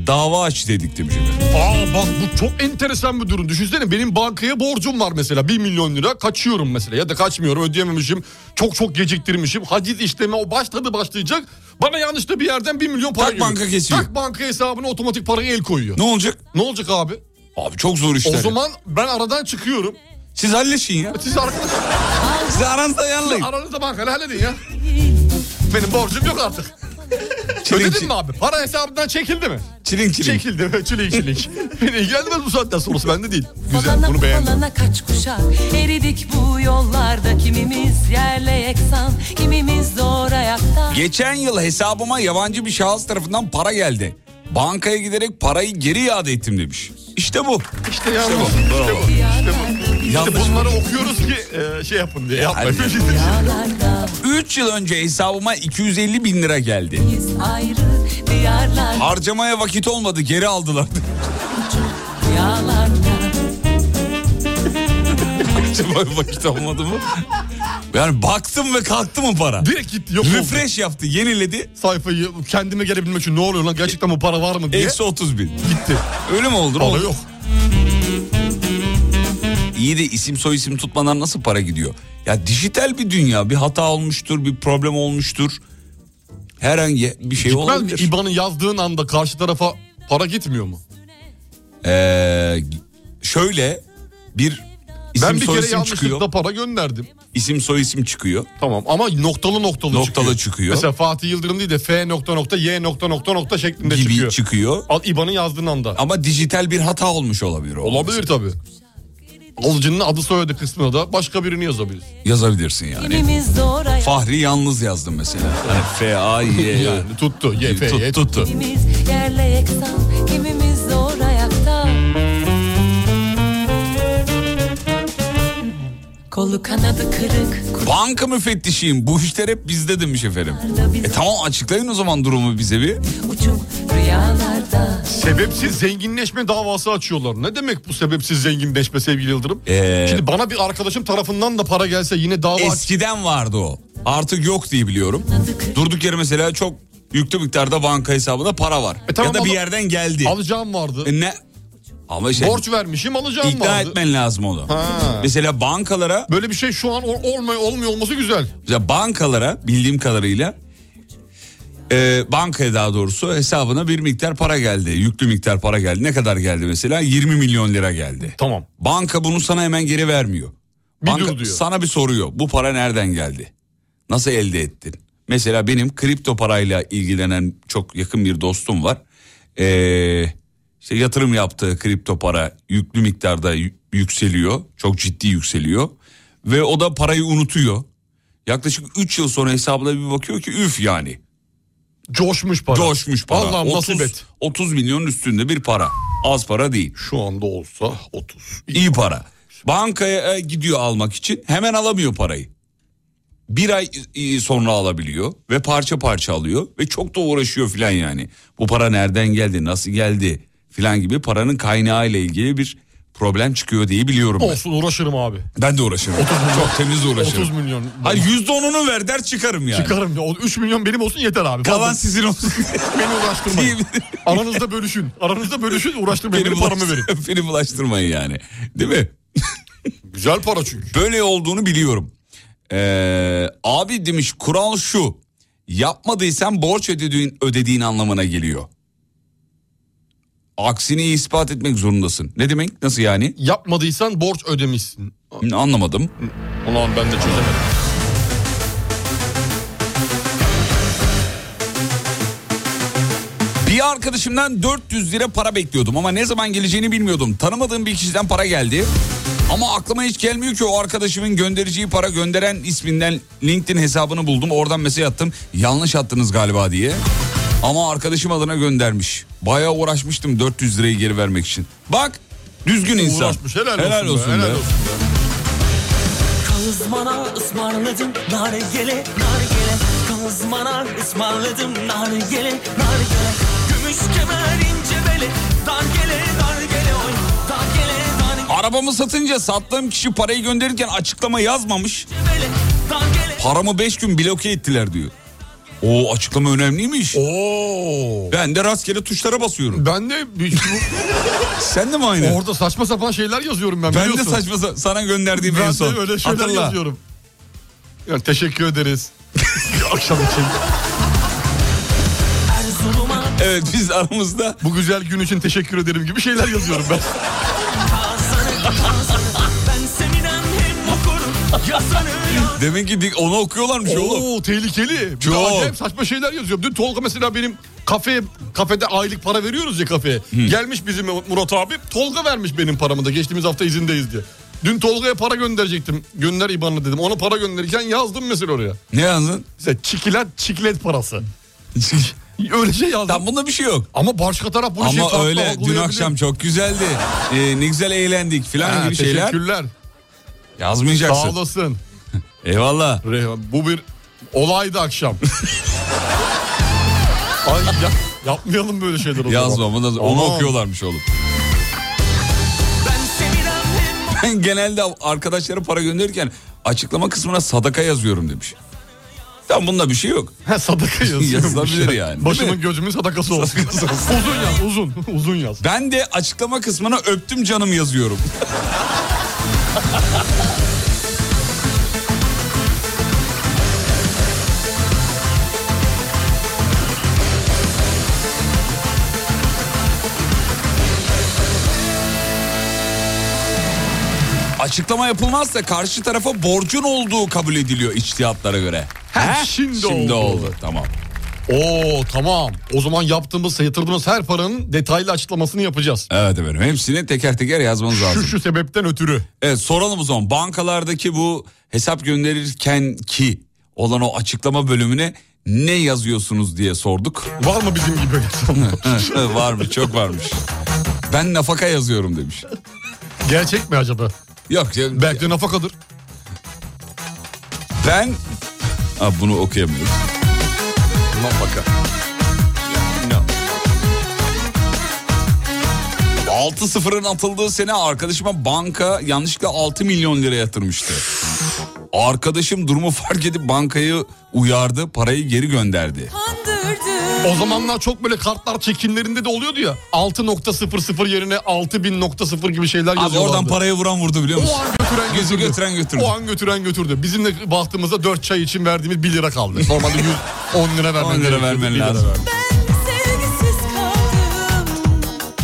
Speaker 4: dava aç dedik demiş efendim.
Speaker 5: Aa bak bu çok enteresan bir durum. Düşünsene benim bankaya borcum var mesela 1 milyon lira kaçıyorum mesela ya da kaçmıyorum ödeyememişim. Çok çok geciktirmişim. Haciz işlemi o başladı başlayacak. Bana yanlışta bir yerden 1 milyon para
Speaker 4: Tak
Speaker 5: geliyor.
Speaker 4: banka kesiyor.
Speaker 5: Tak banka hesabına otomatik parayı el koyuyor.
Speaker 4: Ne olacak?
Speaker 5: Ne olacak abi?
Speaker 4: Abi çok zor işler.
Speaker 5: O zaman ben aradan çıkıyorum.
Speaker 4: Siz halleşin
Speaker 5: [LAUGHS]
Speaker 4: ya.
Speaker 5: Siz arkadaş
Speaker 4: Siz aranızda ayarlayın.
Speaker 5: aranızda bankayla halledin ya. Benim borcum yok artık.
Speaker 4: Çilin
Speaker 5: Ödedin
Speaker 4: çilin.
Speaker 5: mi abi? Para hesabından çekildi mi?
Speaker 4: Çilin çilin.
Speaker 5: Çekildi.
Speaker 4: [LAUGHS]
Speaker 5: Çilek çilek. Beni ilgilendirmez bu saatten sonrası bende değil. Güzel bunu beğendim.
Speaker 11: Falana kaç kuşak eridik bu yollarda kimimiz yerle yeksan kimimiz zor ayakta.
Speaker 4: Geçen yıl hesabıma yabancı bir şahıs tarafından para geldi. Bankaya giderek parayı geri iade ettim demiş. İşte bu.
Speaker 5: İşte yanlış.
Speaker 4: bu. Bravo.
Speaker 5: İşte
Speaker 4: Yanlış.
Speaker 5: bunları okuyoruz ki e, şey yapın diye yapmayın.
Speaker 4: Hadi. 3 yıl önce hesabıma 250 bin lira geldi.
Speaker 11: Biz ayrı diyarlar
Speaker 4: Harcamaya vakit olmadı geri aldılar. [LAUGHS]
Speaker 11: rüyalarda
Speaker 4: Harcamaya vakit olmadı mı? Yani baktım ve kalktı mı para?
Speaker 5: [LAUGHS] Direkt gitti yok oldu.
Speaker 4: Refresh yaptı yeniledi.
Speaker 5: Sayfayı kendime gelebilmek için ne oluyor lan gerçekten bu para var mı diye
Speaker 4: Eksi 30 bin.
Speaker 5: gitti.
Speaker 4: Öyle mi oldu?
Speaker 5: Para yok.
Speaker 4: İyi de isim soy isim tutmadan nasıl para gidiyor? Ya dijital bir dünya bir hata olmuştur bir problem olmuştur. Herhangi bir şey
Speaker 5: Gitmez mi?
Speaker 4: olabilir.
Speaker 5: İBAN'ı yazdığın anda karşı tarafa para gitmiyor mu?
Speaker 4: Ee, şöyle bir isim
Speaker 5: ben bir
Speaker 4: soy
Speaker 5: kere
Speaker 4: isim çıkıyor.
Speaker 5: yanlışlıkla para gönderdim.
Speaker 4: isim soy isim çıkıyor.
Speaker 5: Tamam ama noktalı noktalı,
Speaker 4: Noktalı
Speaker 5: çıkıyor.
Speaker 4: çıkıyor.
Speaker 5: Mesela Fatih Yıldırım değil de F nokta nokta Y nokta nokta nokta şeklinde
Speaker 4: gibi
Speaker 5: çıkıyor.
Speaker 4: çıkıyor.
Speaker 5: Al İBAN'ı yazdığın anda.
Speaker 4: Ama dijital bir hata olmuş olabilir. o.
Speaker 5: Olabilir tabii. Alıcının adı soyadı kısmına da başka birini yazabiliriz.
Speaker 4: Yazabilirsin yani.
Speaker 11: kimimiz doğraya
Speaker 4: Fahri yalnız yazdım mesela. Hani F A Y.
Speaker 5: [LAUGHS]
Speaker 4: E
Speaker 5: Yani tuttu. Y, F, Y
Speaker 4: Tut- tuttu.
Speaker 11: kimimiz yerle yeksan kimimiz zor ayakta Kolu kanadı kırık
Speaker 4: Banka müfettişiyim. Bu işler hep bizde demiş efendim. E tamam açıklayın o zaman durumu bize bir.
Speaker 11: uçum rüyalarda
Speaker 5: Sebepsiz zenginleşme davası açıyorlar. Ne demek bu sebepsiz zenginleşme sevgili Yıldırım?
Speaker 4: Ee,
Speaker 5: Şimdi bana bir arkadaşım tarafından da para gelse yine dava aç.
Speaker 4: Eskiden vardı o. Artık yok diye biliyorum. Durduk yere mesela çok yüklü miktarda banka hesabında para var.
Speaker 5: E tamam
Speaker 4: ya da bir
Speaker 5: ama-
Speaker 4: yerden geldi.
Speaker 5: Alacağım vardı.
Speaker 4: E ne? Ama şey
Speaker 5: Borç vermişim alacağım
Speaker 4: ikna
Speaker 5: vardı.
Speaker 4: etmen lazım onu. Mesela bankalara
Speaker 5: Böyle bir şey şu an ol- olmuyor, olmuyor olması güzel.
Speaker 4: mesela bankalara bildiğim kadarıyla e, bankaya daha doğrusu hesabına bir miktar para geldi. Yüklü miktar para geldi. Ne kadar geldi mesela? 20 milyon lira geldi.
Speaker 5: Tamam.
Speaker 4: Banka bunu sana hemen geri vermiyor.
Speaker 5: Bir
Speaker 4: Banka
Speaker 5: dur diyor.
Speaker 4: sana bir soruyor. Bu para nereden geldi? Nasıl elde ettin? Mesela benim kripto parayla ilgilenen çok yakın bir dostum var. Ee, işte yatırım yaptığı kripto para yüklü miktarda y- yükseliyor. Çok ciddi yükseliyor. Ve o da parayı unutuyor. Yaklaşık 3 yıl sonra hesabına bir bakıyor ki üf yani.
Speaker 5: Coşmuş para.
Speaker 4: Coşmuş para.
Speaker 5: Allah'ım
Speaker 4: 30,
Speaker 5: nasip et.
Speaker 4: 30 milyonun üstünde bir para. Az para değil.
Speaker 5: Şu anda olsa 30.
Speaker 4: İyi para. Bankaya e, gidiyor almak için hemen alamıyor parayı. Bir ay e, sonra alabiliyor ve parça parça alıyor ve çok da uğraşıyor filan yani. Bu para nereden geldi, nasıl geldi filan gibi paranın kaynağı ile ilgili bir problem çıkıyor diye biliyorum ben.
Speaker 5: Olsun uğraşırım abi.
Speaker 4: Ben de uğraşırım. Çok temiz uğraşırım.
Speaker 5: 30 milyon.
Speaker 4: Hayır %10'unu ver der çıkarım yani.
Speaker 5: Çıkarım ya. O 3 milyon benim olsun yeter abi.
Speaker 4: Kalan
Speaker 5: Fazla
Speaker 4: sizin olsun.
Speaker 5: beni [LAUGHS] uğraştırmayın.
Speaker 4: Diyebilirim.
Speaker 5: Aranızda bölüşün. Aranızda bölüşün uğraştırmayın. Benim paramı verin.
Speaker 4: [LAUGHS] bulaştır- Beni bulaştırmayın yani. Değil mi?
Speaker 5: Güzel para çünkü.
Speaker 4: Böyle olduğunu biliyorum. Ee, abi demiş kural şu. Yapmadıysan borç ödediğin, ödediğin anlamına geliyor. Aksini ispat etmek zorundasın. Ne demek? Nasıl yani?
Speaker 5: Yapmadıysan borç ödemişsin.
Speaker 4: Anlamadım.
Speaker 5: Ulan ben de çözemedim.
Speaker 4: Bir arkadaşımdan 400 lira para bekliyordum ama ne zaman geleceğini bilmiyordum. Tanımadığım bir kişiden para geldi. Ama aklıma hiç gelmiyor ki o arkadaşımın göndereceği para gönderen isminden LinkedIn hesabını buldum. Oradan mesaj attım. Yanlış attınız galiba diye. Ama arkadaşım adına göndermiş. Bayağı uğraşmıştım 400 lirayı geri vermek için. Bak düzgün insan.
Speaker 5: Uğraşmış helal, olsun. be, helal
Speaker 4: be.
Speaker 5: olsun.
Speaker 10: Kazmana ısmarladım nargile nargile Kazmana ısmarladım nargile nargile Gümüş kemer ince beli dargele dargele oy Dargele dargele
Speaker 4: Arabamı satınca sattığım kişi parayı gönderirken açıklama yazmamış.
Speaker 10: beli dargele
Speaker 4: Paramı 5 gün bloke ettiler diyor. O açıklama önemliymiş.
Speaker 5: Oo.
Speaker 4: Ben de rastgele tuşlara basıyorum.
Speaker 5: Ben de bir- [LAUGHS]
Speaker 4: Sen de mi aynı?
Speaker 5: orada saçma sapan şeyler yazıyorum ben,
Speaker 4: ben de
Speaker 5: biliyorsun.
Speaker 4: saçma sa- sana gönderdiğim en
Speaker 5: Ben
Speaker 4: son.
Speaker 5: de öyle şeyler
Speaker 4: Hatırla.
Speaker 5: yazıyorum. Yani teşekkür [LAUGHS] ederiz. Akşam için.
Speaker 10: Erzurum'a
Speaker 4: Evet biz aramızda
Speaker 5: Bu güzel gün için teşekkür ederim gibi şeyler yazıyorum ben.
Speaker 10: kazanı kazanı Ben seminem hem okurum yazanı yazanı
Speaker 4: demek ki bir- onu okuyorlarmış oğlum.
Speaker 5: Oo tehlikeli. Bir de
Speaker 4: Çok.
Speaker 5: acayip saçma şeyler yazıyorum. Dün Tolga mesela benim kafeye kafede aylık para veriyoruz ya kafeye. Gelmiş bizim Murat abi. Tolga vermiş benim paramı da geçtiğimiz hafta izindeyiz diye. Dün Tolga'ya para gönderecektim. Gönder IBAN'ını dedim. Ona para gönderirken yazdım mesela oraya.
Speaker 4: Ne yazdın?
Speaker 5: Mesela çikilet
Speaker 4: [LAUGHS]
Speaker 5: çiklet parası. Öyle şey yazdım.
Speaker 4: Tam bunda bir şey yok.
Speaker 5: Ama başka taraf bunu şey
Speaker 4: Ama
Speaker 5: farklı
Speaker 4: öyle dün
Speaker 5: algılayabilir.
Speaker 4: akşam çok güzeldi. Ee, ne güzel eğlendik filan
Speaker 5: Ha,
Speaker 4: gibi şeyler
Speaker 5: Teşekkürler. Sağ
Speaker 4: yazmayacaksın.
Speaker 5: olasın.
Speaker 4: Eyvallah.
Speaker 5: Reyhan, bu bir
Speaker 4: [LAUGHS]
Speaker 5: olaydı akşam. Ay ya- yapmayalım böyle şeyler o
Speaker 4: Yazma
Speaker 5: zaman.
Speaker 4: bunu da- onu
Speaker 5: Aman.
Speaker 4: okuyorlarmış oğlum.
Speaker 10: Ben seminem hem
Speaker 4: Ben [LAUGHS] genelde arkadaşlara para gönderirken açıklama kısmına sadaka yazıyorum demiş. Tam bunda bir şey yok.
Speaker 5: Ha, sadaka yazıyormuş.
Speaker 4: Yazılabilir yani. Değil
Speaker 5: Başımın
Speaker 4: mi?
Speaker 5: gözümün sadakası olsun. [LAUGHS] uzun yaz uzun. Uzun yaz.
Speaker 4: Ben de açıklama kısmına öptüm canım yazıyorum. açıklama yapılmazsa karşı tarafa borcun olduğu kabul ediliyor içtihatlara göre.
Speaker 5: Ha,
Speaker 4: Heh,
Speaker 5: şimdi oldu.
Speaker 4: Şimdi oldu. Tamam.
Speaker 5: Oo tamam. O zaman yaptığımız, yatırdığımız her paranın detaylı açıklamasını yapacağız.
Speaker 4: Evet efendim. Hepsini teker teker yazmanız
Speaker 5: Şu
Speaker 4: lazım.
Speaker 5: şu sebepten ötürü.
Speaker 4: Evet soralım o zaman. Bankalardaki bu hesap gönderirken ki olan o açıklama bölümüne ne yazıyorsunuz diye sorduk. [LAUGHS]
Speaker 5: Var mı bizim gibi insanlar?
Speaker 4: varmış çok varmış. Ben nafaka yazıyorum demiş.
Speaker 5: Gerçek mi acaba?
Speaker 4: Yok ya-
Speaker 5: Belki de nafakadır.
Speaker 4: ben... Aa, bunu okuyamıyorum. Nafaka. No. 6-0'ın atıldığı sene arkadaşıma banka yanlışlıkla 6 milyon lira yatırmıştı. Arkadaşım durumu fark edip bankayı uyardı, parayı geri gönderdi.
Speaker 5: O zamanlar çok böyle kartlar çekimlerinde de oluyordu ya. 6.00 yerine 6000.0 gibi şeyler
Speaker 4: Abi
Speaker 5: yazıyorlardı.
Speaker 4: oradan parayı vuran vurdu biliyor musun?
Speaker 5: O an götüren
Speaker 4: Gözü
Speaker 5: götürdü.
Speaker 4: götüren götürdü.
Speaker 5: O an götüren götürdü. Bizim de bahtımıza 4 çay için verdiğimiz 1
Speaker 4: [LAUGHS]
Speaker 5: lira kaldı. Normalde 100, 10 lira vermen
Speaker 4: 10 lira
Speaker 5: gerekiyordu.
Speaker 4: vermen
Speaker 5: 1 lira
Speaker 4: lazım.
Speaker 5: verdi.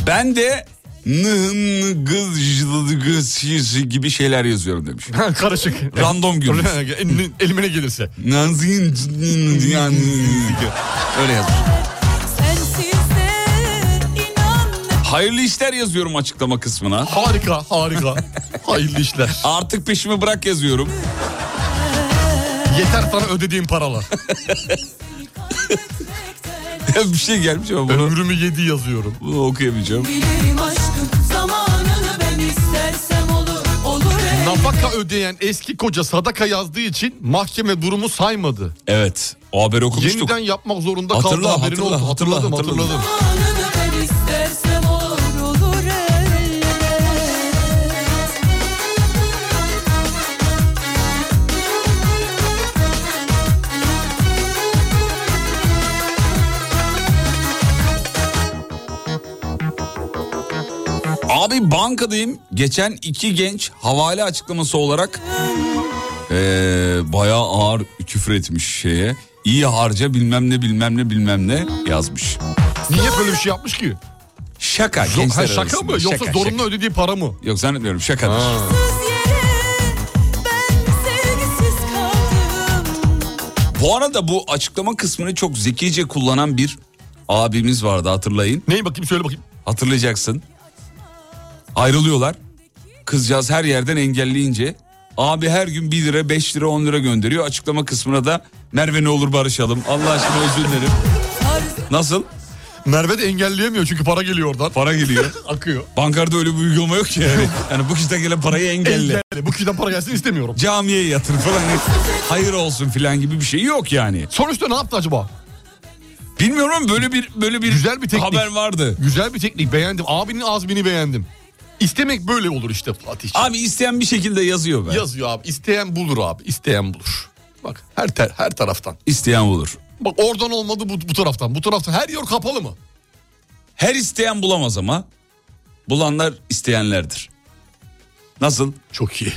Speaker 4: Ben de nın kız gibi şeyler yazıyorum
Speaker 5: [LAUGHS]
Speaker 4: demiş. [LAUGHS]
Speaker 5: Ha, Karışık.
Speaker 4: Random gülmüş.
Speaker 5: Elin- Elimine gelirse.
Speaker 4: Nanzin
Speaker 5: [LAUGHS]
Speaker 4: öyle yazmış. Hayırlı işler yazıyorum açıklama kısmına.
Speaker 5: Harika harika.
Speaker 4: [LAUGHS]
Speaker 5: Hayırlı işler.
Speaker 4: Artık peşimi bırak yazıyorum. [LAUGHS]
Speaker 5: Yeter sana ödediğim paralar.
Speaker 4: Bir şey gelmiş ama bunu,
Speaker 5: Ömrümü yedi yazıyorum.
Speaker 4: bunu okuyamayacağım.
Speaker 11: Bilirim aşkım zamanını ben istersem olur olur ey.
Speaker 5: Nafaka ödeyen eski koca sadaka yazdığı için mahkeme durumu saymadı.
Speaker 4: Evet o haberi okumuştuk.
Speaker 5: Yeniden yapmak zorunda kaldı
Speaker 4: Hatırla,
Speaker 5: haberin
Speaker 4: hatırla,
Speaker 5: oldu.
Speaker 4: hatırla,
Speaker 5: Hatırladım
Speaker 4: hatırla.
Speaker 5: hatırladım.
Speaker 11: Zamanını ben istersem olur olur ey.
Speaker 4: Abi bankadayım. Geçen iki genç havale açıklaması olarak eee bayağı ağır küfür etmiş şeye. İyi harca bilmem ne bilmem ne bilmem ne yazmış.
Speaker 5: Niye böyle bir şey yapmış ki?
Speaker 4: Şaka
Speaker 5: Yok,
Speaker 4: gençler
Speaker 5: ha, şaka
Speaker 4: arasında.
Speaker 5: mı? Yoksa
Speaker 4: Şaka,
Speaker 5: zorunlu
Speaker 4: şaka.
Speaker 5: ödediği para mı?
Speaker 4: Yok zannetmiyorum şakadır. Bu arada bu açıklama kısmını çok zekice kullanan bir abimiz vardı hatırlayın.
Speaker 5: Neyi bakayım söyle bakayım.
Speaker 4: Hatırlayacaksın. Ayrılıyorlar. Kızcağız her yerden engelleyince abi her gün 1 lira 5 lira 10 lira gönderiyor. Açıklama kısmına da Merve ne olur barışalım. Allah aşkına özür dilerim. Nasıl?
Speaker 5: Merve de engelleyemiyor çünkü para geliyor oradan.
Speaker 4: Para geliyor.
Speaker 5: [LAUGHS] Akıyor.
Speaker 4: Bankarda öyle bir uygulama yok ki yani. Yani bu kişiden gelen parayı engelle.
Speaker 5: Engelle. Bu kişiden para gelsin istemiyorum.
Speaker 4: Camiye yatır falan. Hayır olsun falan gibi bir şey yok yani.
Speaker 5: Sonuçta ne yaptı acaba?
Speaker 4: Bilmiyorum ama böyle bir böyle bir
Speaker 5: Güzel bir teknik.
Speaker 4: haber vardı.
Speaker 5: Güzel bir teknik beğendim. Abinin azmini beğendim. İstemek böyle olur işte Fatih.
Speaker 4: Abi isteyen bir şekilde yazıyor be.
Speaker 5: Yazıyor abi. İsteyen bulur abi. İsteyen bulur. Bak her ter, her taraftan.
Speaker 4: İsteyen olur.
Speaker 5: Bak oradan olmadı bu, bu taraftan. Bu taraftan her yer kapalı mı?
Speaker 4: Her isteyen bulamaz ama bulanlar isteyenlerdir. Nasıl?
Speaker 5: Çok iyi.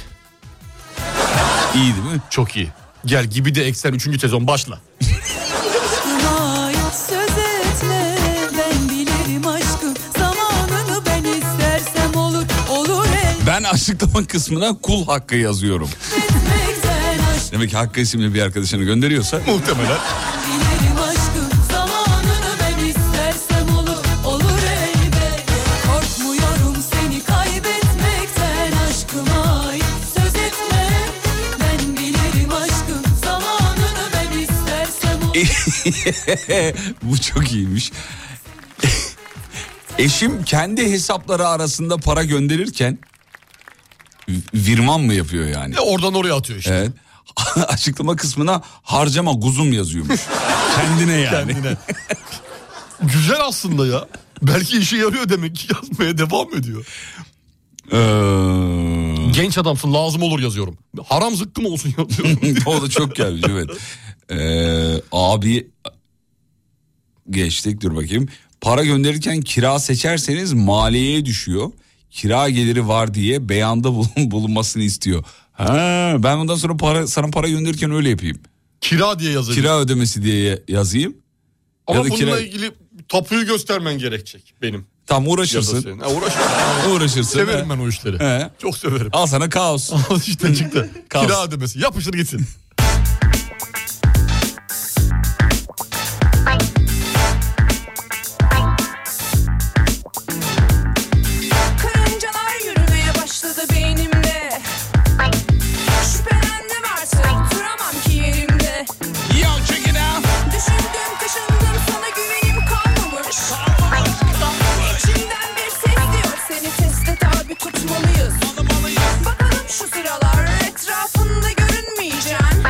Speaker 4: İyi değil mi?
Speaker 5: Çok iyi. Gel gibi de eksen 3. sezon başla.
Speaker 11: Ait söz etme ben bilirim aşkım zamanını ben istersem olur olur ey.
Speaker 4: Ben açıklama kısmına kul hakkı yazıyorum.
Speaker 11: Bekler aşk
Speaker 4: Demek ki Hakkı isimli bir arkadaşını gönderiyorsa
Speaker 5: [LAUGHS] Muhtemelen.
Speaker 11: bilirim aşkım zamanını ben istersem olur olur ey be. Korkmuyorum seni kaybetmekten aşkıma ait söz etme ben bilirim aşkım zamanını ben istersem olur.
Speaker 4: bu çok iyiymiş. [LAUGHS] Eşim kendi hesapları arasında para gönderirken vi- virman mı yapıyor yani?
Speaker 5: E, Oradan oraya atıyor işte.
Speaker 4: Evet. Açıklama kısmına harcama kuzum yazıyormuş. Kendine yani.
Speaker 5: Kendine. Güzel aslında ya. Belki işe yarıyor demek ki yazmaya devam ediyor.
Speaker 4: Ee,
Speaker 5: Genç adamsın lazım olur yazıyorum. Haram zıkkım olsun yazıyorum.
Speaker 4: [LAUGHS] o da çok gelmiş evet. Ee, abi geçtik dur bakayım. Para gönderirken kira seçerseniz maliyeye düşüyor. Kira geliri var diye beyanda bulun- [LAUGHS] bulunmasını istiyor. Ha, ben bundan sonra para sana para gönderirken öyle yapayım.
Speaker 5: [LAUGHS] Kira diye yazıyor.
Speaker 4: Kira ödemesi diye yazayım.
Speaker 5: Ama
Speaker 4: ya da
Speaker 5: bununla
Speaker 4: kira-
Speaker 5: ilgili tapuyu göstermen gerekecek benim.
Speaker 4: Tam
Speaker 5: Yazasın.
Speaker 4: uğraşırsın.
Speaker 5: Ha, [LAUGHS] uğraşma.
Speaker 4: Uğraşırsın.
Speaker 5: Severim ben o işleri.
Speaker 4: He.
Speaker 5: Çok severim.
Speaker 4: Al sana
Speaker 5: [LAUGHS]
Speaker 4: kaos.
Speaker 5: işte çıktı.
Speaker 4: Kaos.
Speaker 5: Kira ödemesi. Yapışır gitsin.
Speaker 13: Karıncalar yürümeye başladı beynimde Şüphelendim artık duramam ki yerimde Düşündüm kaşındım sana güvenim kalmamış İçimden bir ses diyor seni teste tabi tutmalıyız Bakalım şu sıralar etrafında görünmeyeceksin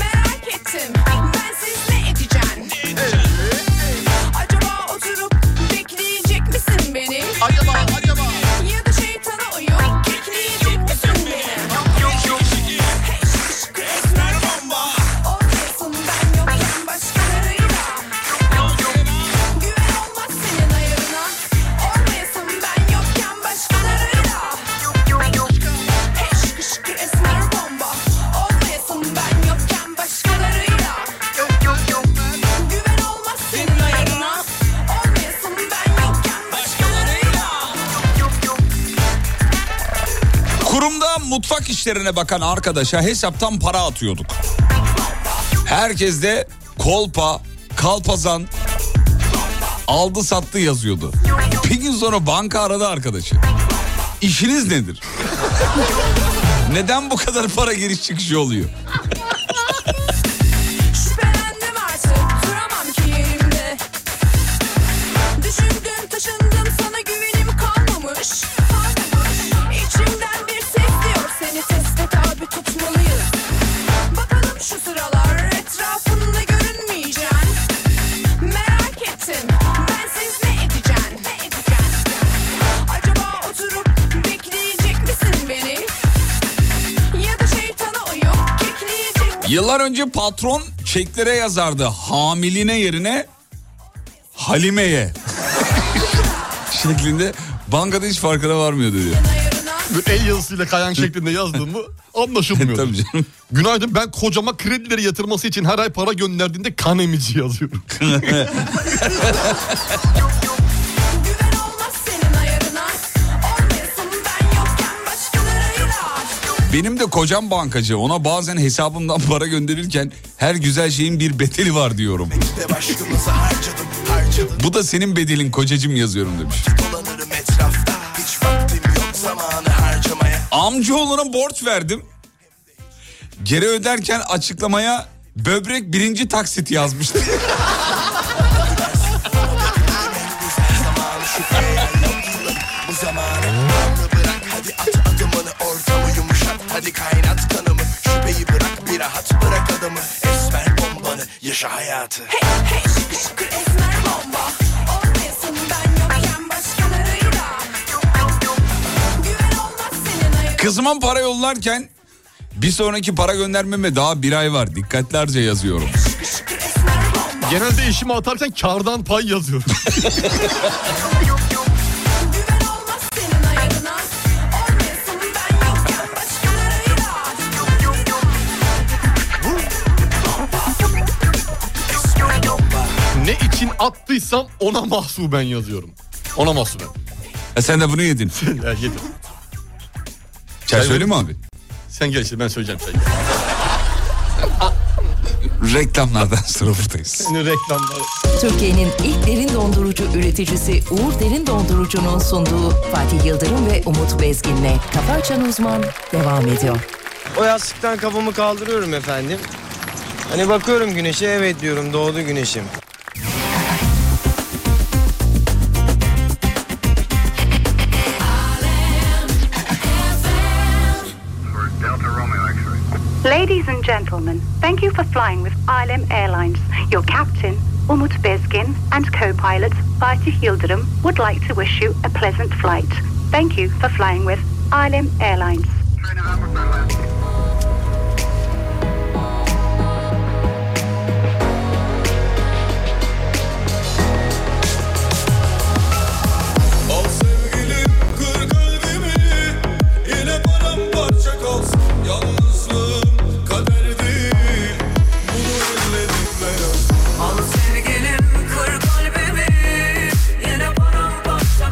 Speaker 13: Merak ettim ben siz ne edeceksin Acaba oturup bekleyecek misin beni ya da şey şeytana uyup kekleyecek misin beni? Hey şiş esmer bomba Olmasın ben yokken başkalarıyla Güven olmaz senin ayarına Olmayasın ben yokken başkalarıyla Hey şiş esmer bomba Olmayasın ben yokken başkalarıyla Güven olmaz senin ayarına Olmayasın ben yokken başkalarıyla
Speaker 4: Kurumda mutfak işlerine bakan arkadaşa hesaptan para atıyorduk. Herkes de kolpa, kalpazan, aldı sattı yazıyordu. Bir gün sonra banka aradı arkadaşı. İşiniz nedir? Neden bu kadar para giriş çıkışı oluyor?
Speaker 13: Şüphelendim artık duramam ki yerimde Düşündüm taşındım sana güvenim kalmamış İçimden bir ses diyor seni teste tabi tutmalıyız Bakalım şu sıralar etrafında görünmeyeceksin Merak ettim ben siz ne edeceksin ne edeceksin Acaba oturup bekleyecek misin beni Ya da şeytana uyup kekleyecek
Speaker 4: Yıllar önce patron çeklere yazardı hamiline yerine Halime'ye. [LAUGHS] Şeklinde bankada hiç farkına varmıyordu diyor.
Speaker 13: ayarına
Speaker 5: Böyle el yazısıyla kayan şeklinde yazdın mı anlaşılmıyor. [LAUGHS]
Speaker 4: Tabii canım.
Speaker 5: Günaydın ben kocama kredileri yatırması için her ay para gönderdiğinde kan emici [LAUGHS] yazıyorum.
Speaker 13: Güven olmaz senin ayarına Olmayasın ben yokken başkalarıyla
Speaker 4: Benim de kocam bankacı. Ona bazen hesabımdan [LAUGHS] para gönderirken her güzel şeyin bir bedeli var diyorum.
Speaker 10: İşte başkımıza harcadım harcadım
Speaker 4: Bu da senin bedelin kocacım yazıyorum demiş.
Speaker 10: Dolanırım etrafta Hiç vaktim yok zamanı harcamaya
Speaker 4: Amcaoğluna borç verdim. Geri öderken açıklamaya böbrek birinci taksit yazmıştı.
Speaker 10: Zamanı şüpheyle yolculuk bu zamanı Bağlı bırak hadi at adımını Ortamı yumuşat hadi kaynat kanımı Şüpheyi bırak bir rahat bırak adamı Esmer bombanı yaşa hayatı
Speaker 13: Hey hey şıkır şıkır esmer bomba Olmayasın ben yokken başkalarıyla Güven olmaz senin ayarına
Speaker 4: [LAUGHS] Kızıma para yollarken bir sonraki para göndermeme daha bir ay var. Dikkatlerce yazıyorum.
Speaker 13: Şıkır şıkır esmer bomba
Speaker 5: Genelde işimi atarken kardan pay yazıyorum.
Speaker 13: Güven olmaz senin ayarına Olmayasın ben yokken başkalarıyla
Speaker 5: ne için attıysam ona mahsuben yazıyorum. Ona mahsuben. [LAUGHS]
Speaker 4: E sen de bunu yedin.
Speaker 5: Ya yedim.
Speaker 4: Çay söyleyeyim mi abi?
Speaker 5: Sen gel işte ben söyleyeceğim sen.
Speaker 4: Reklamlardan sonra buradayız.
Speaker 5: Senin reklamları.
Speaker 2: Türkiye'nin ilk derin dondurucu üreticisi Uğur Derin Dondurucu'nun sunduğu Fatih Yıldırım ve Umut Bezgin'le Kafa Açan Uzman devam ediyor.
Speaker 3: O yastıktan kafamı kaldırıyorum efendim. Hani bakıyorum güneşe evet diyorum doğdu güneşim.
Speaker 14: Ladies and gentlemen, thank you for flying with ILM Airlines. Your captain, Umut Bezgin, and co-pilot Fatih Yildirim would like to wish you a pleasant flight. Thank you for flying with ILM Airlines.
Speaker 10: Al sevgilim kır kalbimi Yine paramparça kalsın Yalnızlığım kader değil Bunu ellerimle yaz
Speaker 11: Al sevgilim kır kalbimi yine paramparça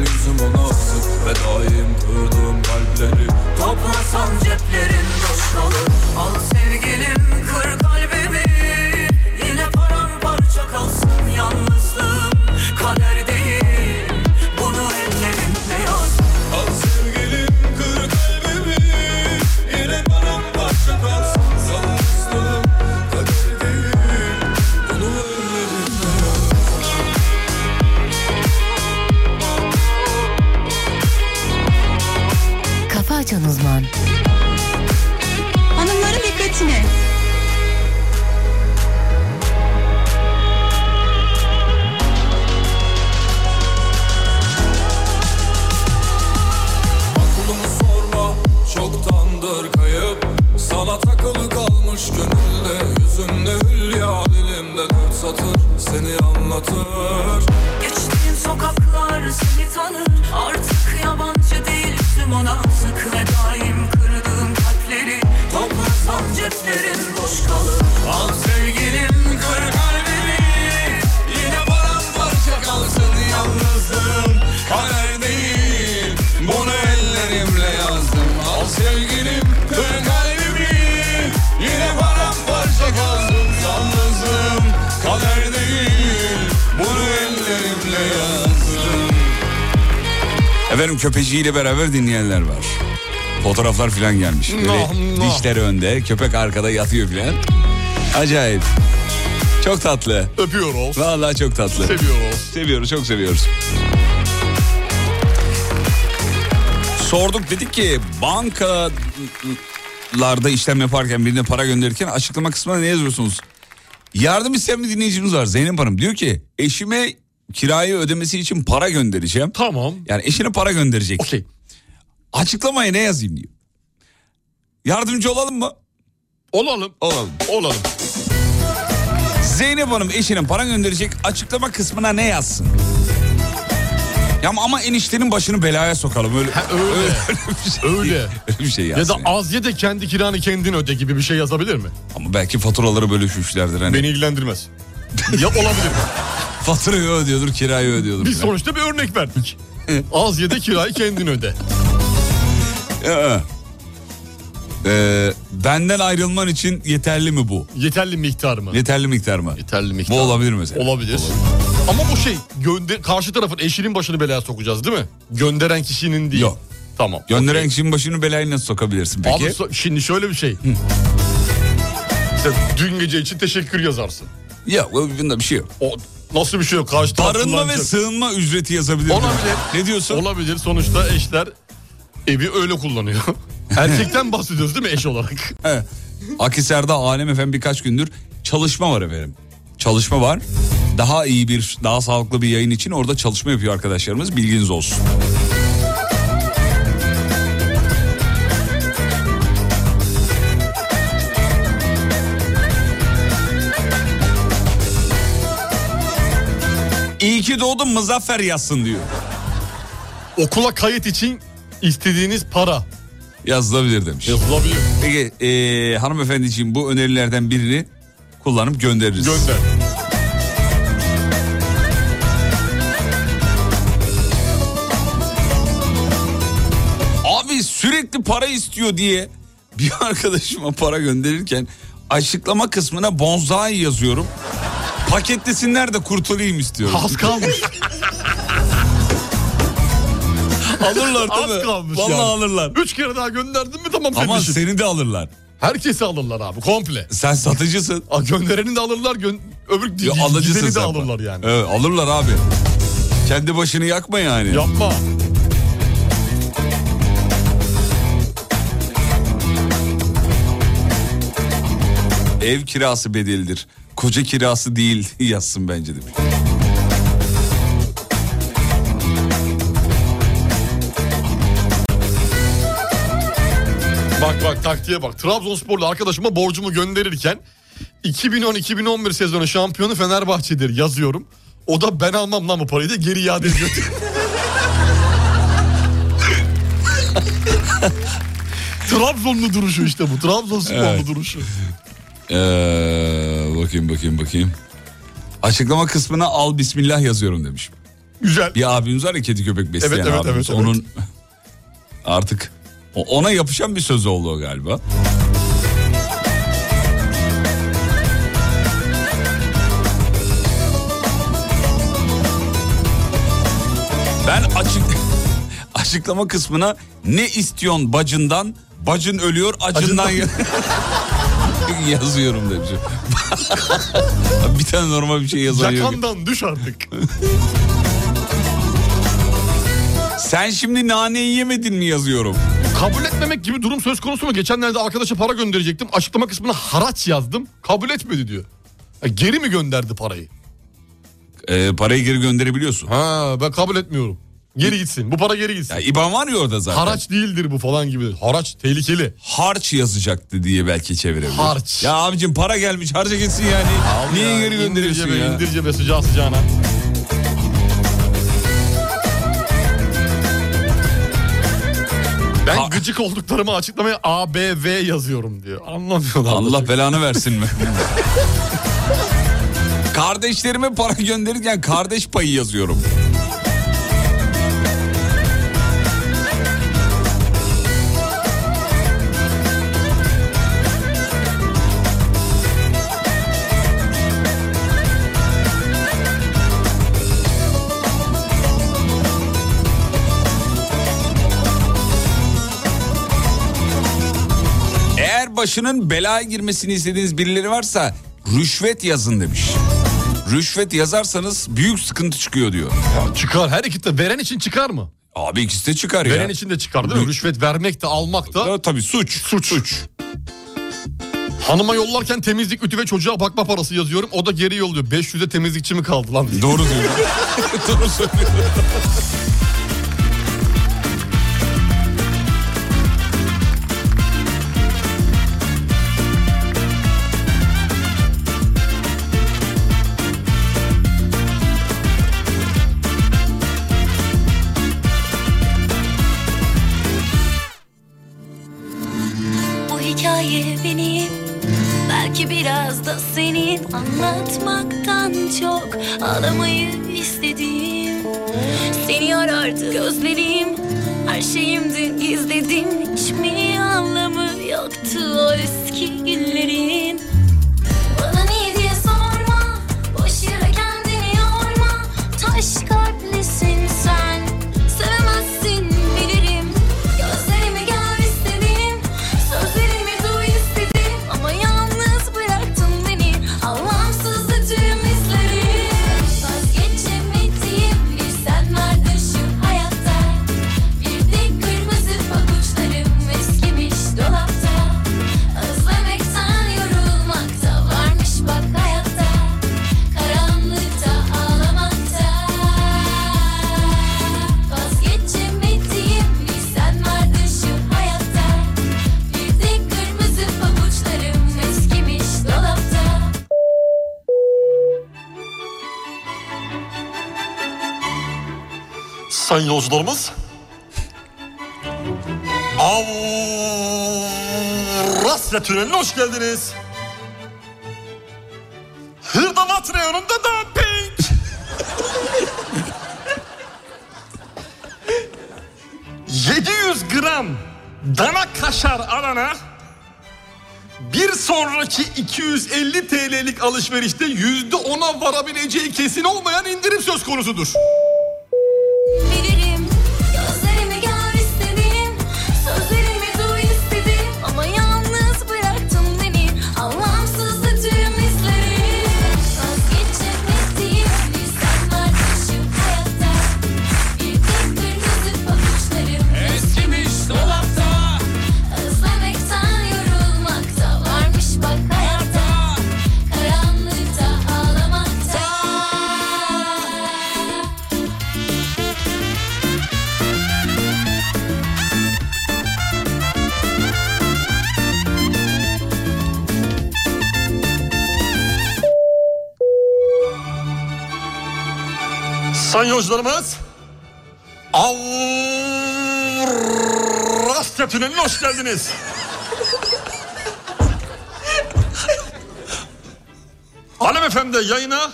Speaker 15: Ve daim kırdığım kalpleri
Speaker 10: Toplasan ceplerin boş kalır Al sevgilim kır kalbimi Yine paramparça kalsın yalnızlığım Kader değil bunu ellerimle yaz Al sevgilim kır kalbimi Yine paramparça kalsın yalnızlığım Kader değil bunu ellerimle yaz
Speaker 2: Kafa Açan Uzman
Speaker 16: Hanımların dikkatine.
Speaker 15: Aklımı sorma çoktandır kayıp Sana takılı kalmış gönülde Yüzümde hülya dilimde dört satır Seni anlatır
Speaker 10: Geçtiğim sokaklar seni tanır Artık yabancı değilsin ona Sık ve daim kırdığım kalpleri Toplasam ceplerim boş kalır Al sevgilim kır kalbimi Yine paramparça kalsın yalnızlığım Kader değil bunu ellerimle yazdım Al sevgilim kır kalbimi Yine paramparça kalsın yalnızlığım Kader değil bunu ellerimle yazdım
Speaker 4: Efendim köpeciyle beraber dinleyenler var. Fotoğraflar filan gelmiş. Böyle
Speaker 5: Nah, nah.
Speaker 4: dişleri önde, köpek arkada yatıyor filan. Acayip. Çok tatlı.
Speaker 5: Öpüyoruz.
Speaker 4: Vallahi çok tatlı.
Speaker 5: Seviyoruz.
Speaker 4: Seviyoruz, çok seviyoruz. Sorduk dedik ki bankalarda işlem yaparken birine para gönderirken açıklama kısmına ne yazıyorsunuz? Yardım isteyen bir dinleyicimiz var Zeynep Hanım. Diyor ki eşime kirayı ödemesi için para göndereceğim.
Speaker 5: Tamam.
Speaker 4: Yani eşine para gönderecek. Okey. Açıklamaya ne yazayım diyor. Yardımcı olalım mı?
Speaker 5: Olalım.
Speaker 4: Olalım.
Speaker 5: Olalım.
Speaker 4: Zeynep Hanım eşine para gönderecek açıklama kısmına ne yazsın? Ya ama- ama eniştenin başını belaya sokalım öyle.
Speaker 5: öyle. Öyle.
Speaker 4: öyle bir şey
Speaker 5: Ya
Speaker 4: yazsın.
Speaker 5: da az ye de kendi kiranı kendin öde gibi bir şey yazabilir mi?
Speaker 4: Ama belki faturaları bölüşmüşlerdir hani.
Speaker 5: Beni ilgilendirmez. ya [LAUGHS] olabilir.
Speaker 4: Faturayı ödüyordur, kirayı ödüyordur.
Speaker 5: Biz sonuçta bir örnek verdik. az ye de kirayı kendin öde.
Speaker 4: Ee, e, benden ayrılman için yeterli mi bu?
Speaker 5: Yeterli miktar mı?
Speaker 4: Yeterli miktar mı?
Speaker 5: Yeterli miktar.
Speaker 4: Bu olabilir mesela.
Speaker 5: Olabilir. Ama bu şey gönder karşı tarafın eşinin başını belaya sokacağız değil mi? Gönderen kişinin değil. Yok. Tamam.
Speaker 4: Gönderen kişinin başını belaya nasıl sokabilirsin peki?
Speaker 5: Abi so- şimdi şöyle bir şey. Mesela dün gece için teşekkür yazarsın.
Speaker 4: Ya bunda bir şey yok.
Speaker 5: O, nasıl bir şey yok? Karşı taraf
Speaker 4: Barınma ve
Speaker 5: kullanacak.
Speaker 4: sığınma ücreti yazabilir.
Speaker 5: Olabilir.
Speaker 4: Ne diyorsun?
Speaker 5: Olabilir. Sonuçta eşler evi öyle
Speaker 4: [LAUGHS]
Speaker 5: kullanıyor. Erkekten bahsediyoruz değil mi eş olarak?
Speaker 4: Evet. Akhisar'da Alem efendim birkaç gündür çalışma var efendim. Çalışma var. Daha iyi bir, daha sağlıklı bir yayın için orada çalışma yapıyor arkadaşlarımız. Bilginiz olsun. İyi ki doğdun Muzaffer yazsın diyor.
Speaker 5: Okula kayıt için istediğiniz para.
Speaker 4: Yazılabilir demiş.
Speaker 5: Yazılabilir.
Speaker 4: Peki eee hanımefendiciğim bu önerilerden birini kullanıp göndeririz. [LAUGHS]
Speaker 5: Gönder.
Speaker 4: Abi sürekli para istiyor diye bir [LAUGHS] arkadaşıma para gönderirken açıklama kısmına bonzai yazıyorum. Paketlesinler de kurtulayım istiyorum.
Speaker 5: Az kalmış.
Speaker 4: [LAUGHS] Alırlar değil mi?
Speaker 5: Az kalmış
Speaker 4: Vallahi
Speaker 5: yani.
Speaker 4: alırlar.
Speaker 5: Üç kere daha gönderdin mi tamam
Speaker 4: Ama
Speaker 5: kardeşim.
Speaker 4: seni de alırlar.
Speaker 5: Herkesi alırlar abi komple.
Speaker 4: Sen satıcısın.
Speaker 5: Aa, Göndereni de alırlar, gön- öbür
Speaker 4: Ya,
Speaker 5: gideni
Speaker 4: alıcısın
Speaker 5: de
Speaker 4: sen.
Speaker 5: alırlar yani.
Speaker 4: Evet, alırlar abi. Kendi başını yakma yani.
Speaker 5: Yapma.
Speaker 4: Ev kirası bedelidir. Koca kirası değil [LAUGHS] yazsın bence demiş.
Speaker 5: Bak bak taktiğe bak. Trabzonsporlu arkadaşıma borcumu gönderirken 2010-2011 sezonu şampiyonu Fenerbahçe'dir yazıyorum. O da ben almam lan bu parayı da geri iade ediyor. [LAUGHS] Trabzonlu duruşu işte bu. Trabzonsporlu
Speaker 4: Evet.
Speaker 5: duruşu.
Speaker 4: Ee, bakayım bakayım bakayım. Açıklama kısmına al bismillah yazıyorum demiş.
Speaker 5: Güzel.
Speaker 4: Bir abimiz var ya kedi köpek besleyen
Speaker 5: Evet, evet,
Speaker 4: abimiz.
Speaker 5: evet, evet.
Speaker 4: Onun [LAUGHS] Artık o- ona yapışan bir söz oldu o galiba. Ben açık [LAUGHS] açıklama kısmına ne istiyorsun bacından, bacın ölüyor acından ya- [LAUGHS] yazıyorum demişim. [LAUGHS] bir tane normal bir şey yazamıyorum.
Speaker 5: Yakamdan düş artık.
Speaker 4: Sen şimdi naneyi yemedin mi yazıyorum.
Speaker 5: Kabul etmemek gibi durum söz konusu mu? Geçenlerde arkadaşa para gönderecektim. Açıklama kısmına haraç yazdım. Kabul etmedi diyor. Ya geri mi gönderdi parayı?
Speaker 4: Ee, parayı geri gönderebiliyorsun.
Speaker 5: Ha ben kabul etmiyorum. Geri gitsin. Bu para geri gitsin.
Speaker 4: Ya İBAN var ya orada zaten.
Speaker 5: Haraç değildir bu falan gibi. Haraç tehlikeli.
Speaker 4: Harç yazacaktı diye belki çevirebilir.
Speaker 5: Harç.
Speaker 4: Ya abicim para gelmiş harca gitsin yani. Niye geri gönderiyorsun
Speaker 5: indir cebe,
Speaker 4: ya?
Speaker 5: İndir cebe sıcağı sıcağına. Ben gıcık olduklarımı açıklamaya A, B, V yazıyorum diyor. Anlamıyorlar.
Speaker 4: Allah belanı versin
Speaker 5: [LAUGHS]
Speaker 4: mi? Kardeşlerime para gönderirken kardeş payı yazıyorum. Eğer başının belaya girmesini istediğiniz birileri varsa rüşvet yazın demiş. Rüşvet yazarsanız büyük sıkıntı çıkıyor diyor.
Speaker 5: Çıkar her iki de veren için çıkar mı?
Speaker 4: Abi ikisi de çıkar ya.
Speaker 5: Veren için de çıkar değil mi? Rüşvet vermek de almak da.
Speaker 4: tabii suç.
Speaker 5: Suç. Hanıma yollarken temizlik ütü ve çocuğa bakma parası yazıyorum. O da geri yolluyor. 500'e temizlikçi mi kaldı lan?
Speaker 4: Doğru diyor. Doğru söylüyor.
Speaker 17: Bu hikaye benim Belki biraz da senin Anlatmaktan çok Ağlamayı istedim Seni arardı gözlerim Her şeyimdi gizledim Hiç mi anlamı yoktu O eski günlerin Bana niye diye sorma Boş yere kendini yorma Taş kalplisin sen Sevemezsin bilirim Gözlerimi gör istedim Sözlerimi duy istedim Ama yalnız bıraktın beni Anlamsızdı tüm hislerim Vazgeçemediğim bir sen vardın şu hayatta Bir de kırmızı pabuçlarım eskimiş dolapta Özlemekten yorulmakta varmış bak hayatta Karanlıkta ağlamakta Vazgeçemediğim bir sen vardın şu hayatta Bir de kırmızı pabuçlarım eskimiş dolapta
Speaker 5: Sayın yolcularımız. Avrasya Tüneli'ne hoş geldiniz. Hırdavat reyonunda [LAUGHS] dumping.
Speaker 18: ...700 gram dana kaşar alana...
Speaker 5: Bir sonraki 250 TL'lik alışverişte %10'a varabileceği kesin olmayan indirim söz konusudur.
Speaker 17: Bilirim gözlerimi gör istedim Sözlerimi duy istedim Ama yalnız bıraktın beni Anlamsızdı tüm hislerim Vazgeçemediğim bir sen vardın şu hayatta Bir tek kırmızı bakışlarım Eskimiş dolapta Özlemekten yorulmakta Varmış bak hayatta Karanlıkta ağlamakta
Speaker 5: Sayın yolcularımız.
Speaker 18: Avrasya Tüneli'ne hoş geldiniz.
Speaker 5: Alem FM'de yayına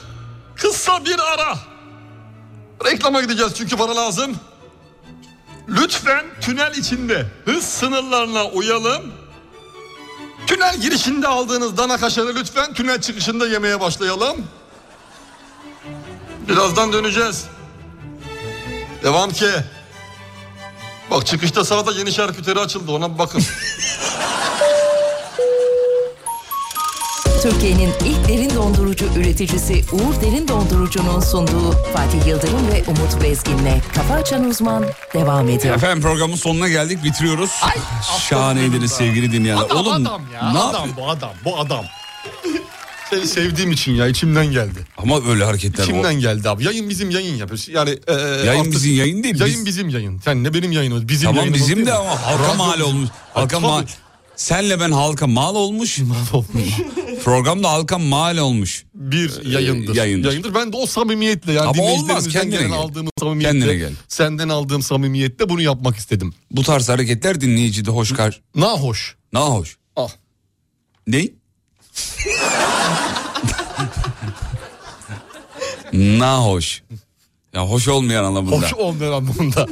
Speaker 5: kısa bir ara. Reklama gideceğiz çünkü para lazım.
Speaker 16: Lütfen tünel içinde hız sınırlarına uyalım.
Speaker 5: Tünel girişinde aldığınız dana kaşarı lütfen tünel çıkışında yemeye başlayalım. Birazdan döneceğiz. Devam ki. Bak çıkışta sağda yeni şarküteri açıldı ona bir bakın.
Speaker 4: [LAUGHS]
Speaker 2: Türkiye'nin ilk derin dondurucu üreticisi Uğur Derin Dondurucu'nun sunduğu Fatih Yıldırım ve Umut Bezgin'le Kafa Açan Uzman devam ediyor.
Speaker 4: Efendim programın sonuna geldik bitiriyoruz. Şahaneydiniz sevgili dinleyenler.
Speaker 5: Adam,
Speaker 4: Oğlum
Speaker 5: adam ya,
Speaker 4: ne
Speaker 5: adam bu adam bu adam. Seni sevdiğim için ya içimden geldi.
Speaker 4: Ama öyle hareketler
Speaker 5: İçimden geldi abi. Yayın bizim yayın ya. Yani eee,
Speaker 4: Yayın bizim yayın değil,
Speaker 5: Yayın
Speaker 4: biz-
Speaker 5: bizim yayın. Sen ne benim yayınım. Bizim
Speaker 4: Tamam
Speaker 5: yayınımız
Speaker 4: bizim
Speaker 5: değil
Speaker 4: de
Speaker 5: mi?
Speaker 4: ama halka
Speaker 5: Radyo
Speaker 4: mal
Speaker 5: bizim.
Speaker 4: olmuş. Halka
Speaker 5: Tabii.
Speaker 4: mal.
Speaker 5: [LAUGHS]
Speaker 4: Senle ben halka mal olmuş. Mal olmuş. Program da halka mal olmuş.
Speaker 5: Bir yayındır.
Speaker 4: E, Yayındır.
Speaker 5: Yayındır. Ben de o samimiyetle yani
Speaker 4: Ama olmaz,
Speaker 5: dinleyicilerimizden
Speaker 4: kendine
Speaker 5: gelen
Speaker 4: gel.
Speaker 5: aldığımız samimiyetle
Speaker 4: Kendine gel.
Speaker 5: senden aldığım samimiyetle bunu yapmak istedim.
Speaker 4: Bu tarz hareketler dinleyicide hoş kar.
Speaker 5: Na hoş.
Speaker 4: Na hoş.
Speaker 5: Ah.
Speaker 4: Ne? [LAUGHS] Na hoş. Ya hoş olmayan anlamında.
Speaker 5: Hoş
Speaker 4: [LAUGHS]
Speaker 5: olmayan anlamında.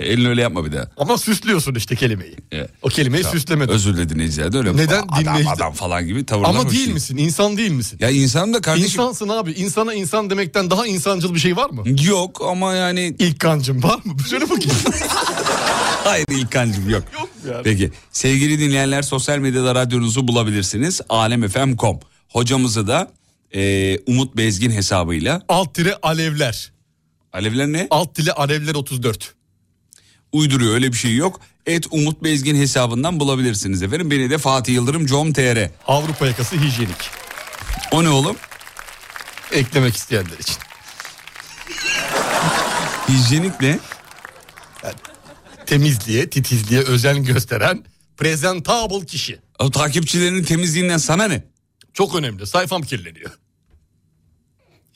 Speaker 4: Elini öyle yapma bir daha.
Speaker 5: Ama süslüyorsun işte kelimeyi.
Speaker 4: E,
Speaker 5: O kelimeyi süslemedin.
Speaker 4: Özür dilerim dinleyiciler de öyle.
Speaker 5: Neden
Speaker 4: adam,
Speaker 5: dinleyici-
Speaker 4: adam falan gibi tavırlar
Speaker 5: Ama
Speaker 4: hoş
Speaker 5: değil misin? İnsan değil misin?
Speaker 4: Ya insanım da şey. kardeşim.
Speaker 5: İnsansın abi. İnsana insan demekten daha insancıl bir şey var mı?
Speaker 4: Yok ama yani... [LAUGHS]
Speaker 5: İlk kancım var mı? [LAUGHS] Söyle bakayım.
Speaker 4: Hayır İlkan'cığım yok. Peki sevgili dinleyenler sosyal medyada radyonuzu bulabilirsiniz. Alemfm.com Hocamızı da e, Umut Bezgin hesabıyla.
Speaker 5: Alt tire alevler.
Speaker 4: Alevler ne?
Speaker 5: Alt tire alevler 34.
Speaker 4: Uyduruyor öyle bir şey yok. Et Umut Bezgin hesabından bulabilirsiniz efendim. Beni de Fatih Yıldırım com.tr.
Speaker 5: Avrupa yakası hijyenik.
Speaker 4: O ne oğlum?
Speaker 5: Eklemek isteyenler için.
Speaker 4: Hijyenik ne?
Speaker 5: Temizliğe, titizliğe özen gösteren presentable kişi.
Speaker 4: O takipçilerinin temizliğinden sana ne?
Speaker 5: Çok önemli. Sayfam kirleniyor.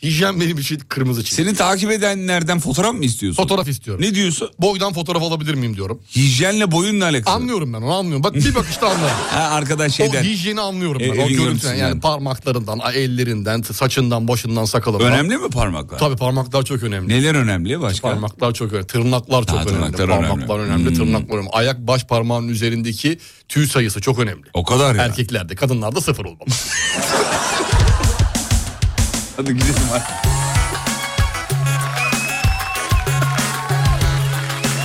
Speaker 5: Hijyen benim için kırmızı çizgi.
Speaker 4: Seni takip edenlerden fotoğraf mı istiyorsun?
Speaker 5: Fotoğraf istiyorum.
Speaker 4: Ne diyorsun?
Speaker 5: Boydan fotoğraf alabilir miyim diyorum.
Speaker 4: Hijyenle boyunla alakalı.
Speaker 5: Anlıyorum ben onu anlıyorum. Bak bir
Speaker 4: [LAUGHS]
Speaker 5: bakışta anlarım.
Speaker 4: Ha, arkadan şeyden.
Speaker 5: O hijyeni anlıyorum
Speaker 4: E,
Speaker 5: ben.
Speaker 4: elin
Speaker 5: o görüntüden
Speaker 4: görüntüsünden.
Speaker 5: yani parmaklarından, ellerinden, saçından, başından, sakalından.
Speaker 4: Önemli mi parmaklar?
Speaker 5: Tabii parmaklar çok önemli.
Speaker 4: Neler önemli başka?
Speaker 5: Parmaklar çok önemli. Tırnaklar çok
Speaker 4: Ha,
Speaker 5: önemli.
Speaker 4: tırnaklar Hmm.
Speaker 5: Parmaklar önemli. Tırnaklar önemli. Ayak baş parmağının üzerindeki tüy sayısı çok önemli.
Speaker 4: O kadar ya.
Speaker 5: Erkeklerde, kadınlarda sıfır olmalı.
Speaker 4: Hadi gidelim artık.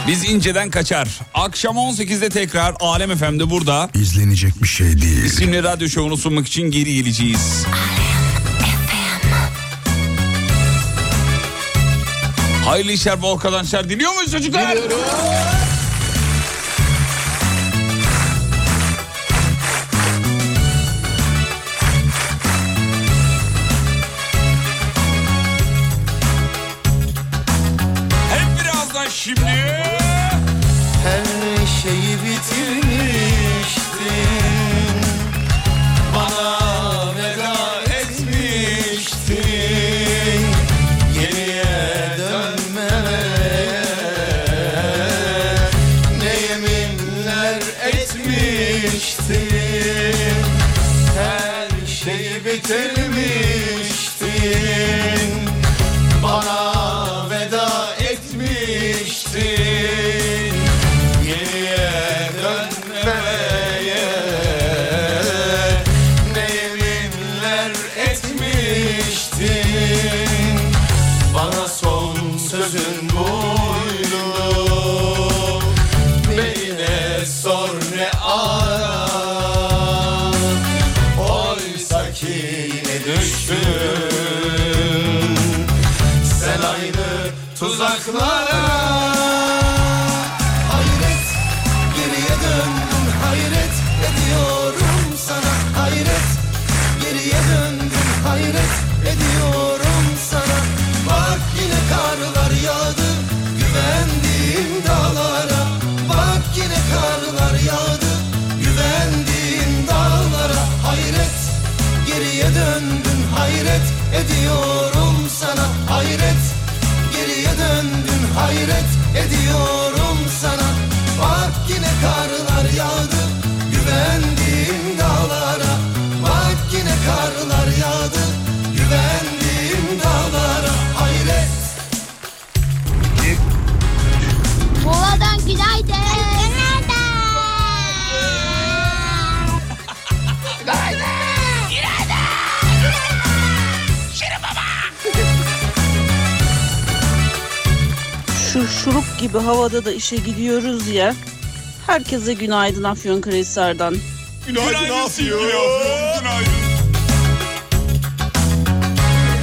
Speaker 4: Biz inceden kaçar. Akşam 18'de tekrar Alem FM'de burada.
Speaker 19: İzlenecek bir şey değil.
Speaker 4: İsimli radyo şovunu sunmak için geri geleceğiz. Hayırlı işler, bol kazançlar diliyor muyuz çocuklar? Hep birazdan şimdi.
Speaker 10: Her şeyi bitirmiştin Bana veda etmiştin Geriye dönmemeye Ne yeminler etmiştin Her şeyi bitirmiştin bana veda etmiştin Geriye dönmeye Ne yeminler etmiştin Bana son sözün buydu Beni ne sor ne ara Oysa ki yine düştün sen aynı tuzaklara Hayret geriye döndüm hayret ediyorum sana Hayret geriye döndüm hayret ediyorum sana Bak yine karlar yağdı güvendiğim dağlara Bak yine karlar yağdı güvendiğim dağlara Hayret geriye döndün hayret ediyorum sana hayret geriye döndün hayret ediyorum sana bak yine karlar yağdı güvendiğim dağlara bak yine karlar yağdı güvendiğim dağlara hayret
Speaker 20: Moladan
Speaker 19: Grup gibi havada da işe gidiyoruz ya. Herkese günaydın Afyonkarahisar'dan.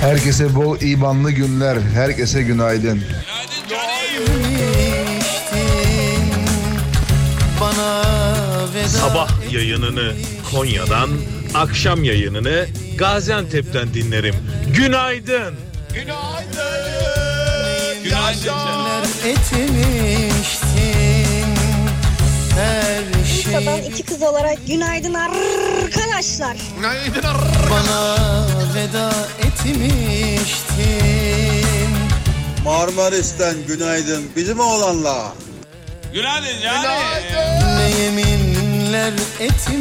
Speaker 20: Herkese bol imanlı günler. Herkese günaydın.
Speaker 21: Sabah yayınını Konya'dan, akşam yayınını Gaziantep'ten dinlerim. Günaydın.
Speaker 10: Günaydın. Etmiştin her
Speaker 1: Bursa'dan iki kız olarak günaydın arkadaşlar.
Speaker 10: Günaydın Bana veda etmiştin
Speaker 22: Marmaris'ten günaydın bizim oğlanla.
Speaker 4: Günaydın
Speaker 10: Ne yeminler etmiştin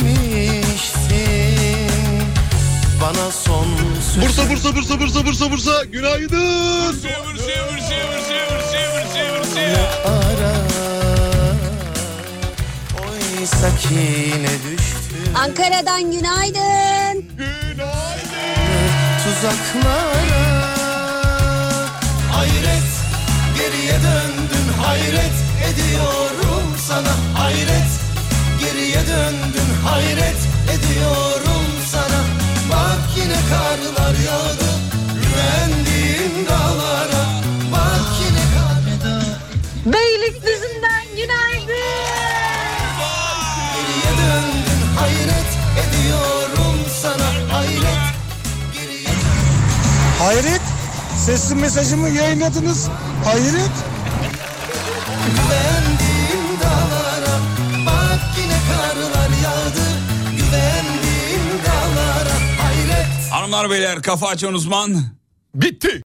Speaker 10: Bana son sözü
Speaker 16: Bursa Bursa Bursa Bursa Bursa Bursa günaydın.
Speaker 10: ara Oysa ki ne düştü
Speaker 1: Ankara'dan günaydın.
Speaker 10: tuzaklara Hayret geriye döndüm hayret ediyorum sana hayret geriye döndüm hayret ediyorum sana Bak yine karlar yağdı güvendiğim dağlara Bak yine
Speaker 1: Beylikdüzü'nden günaydın.
Speaker 10: geriye döndüm hayret ediyorum sana hayret
Speaker 9: Hayret. Sesli mesajımı yayınladınız. Hayret.
Speaker 10: Güvendiğim dağlara Bak yine karlar yağdı Güvendiğim dağlara Hayret
Speaker 4: Hanımlar beyler kafa açan uzman
Speaker 5: bitti.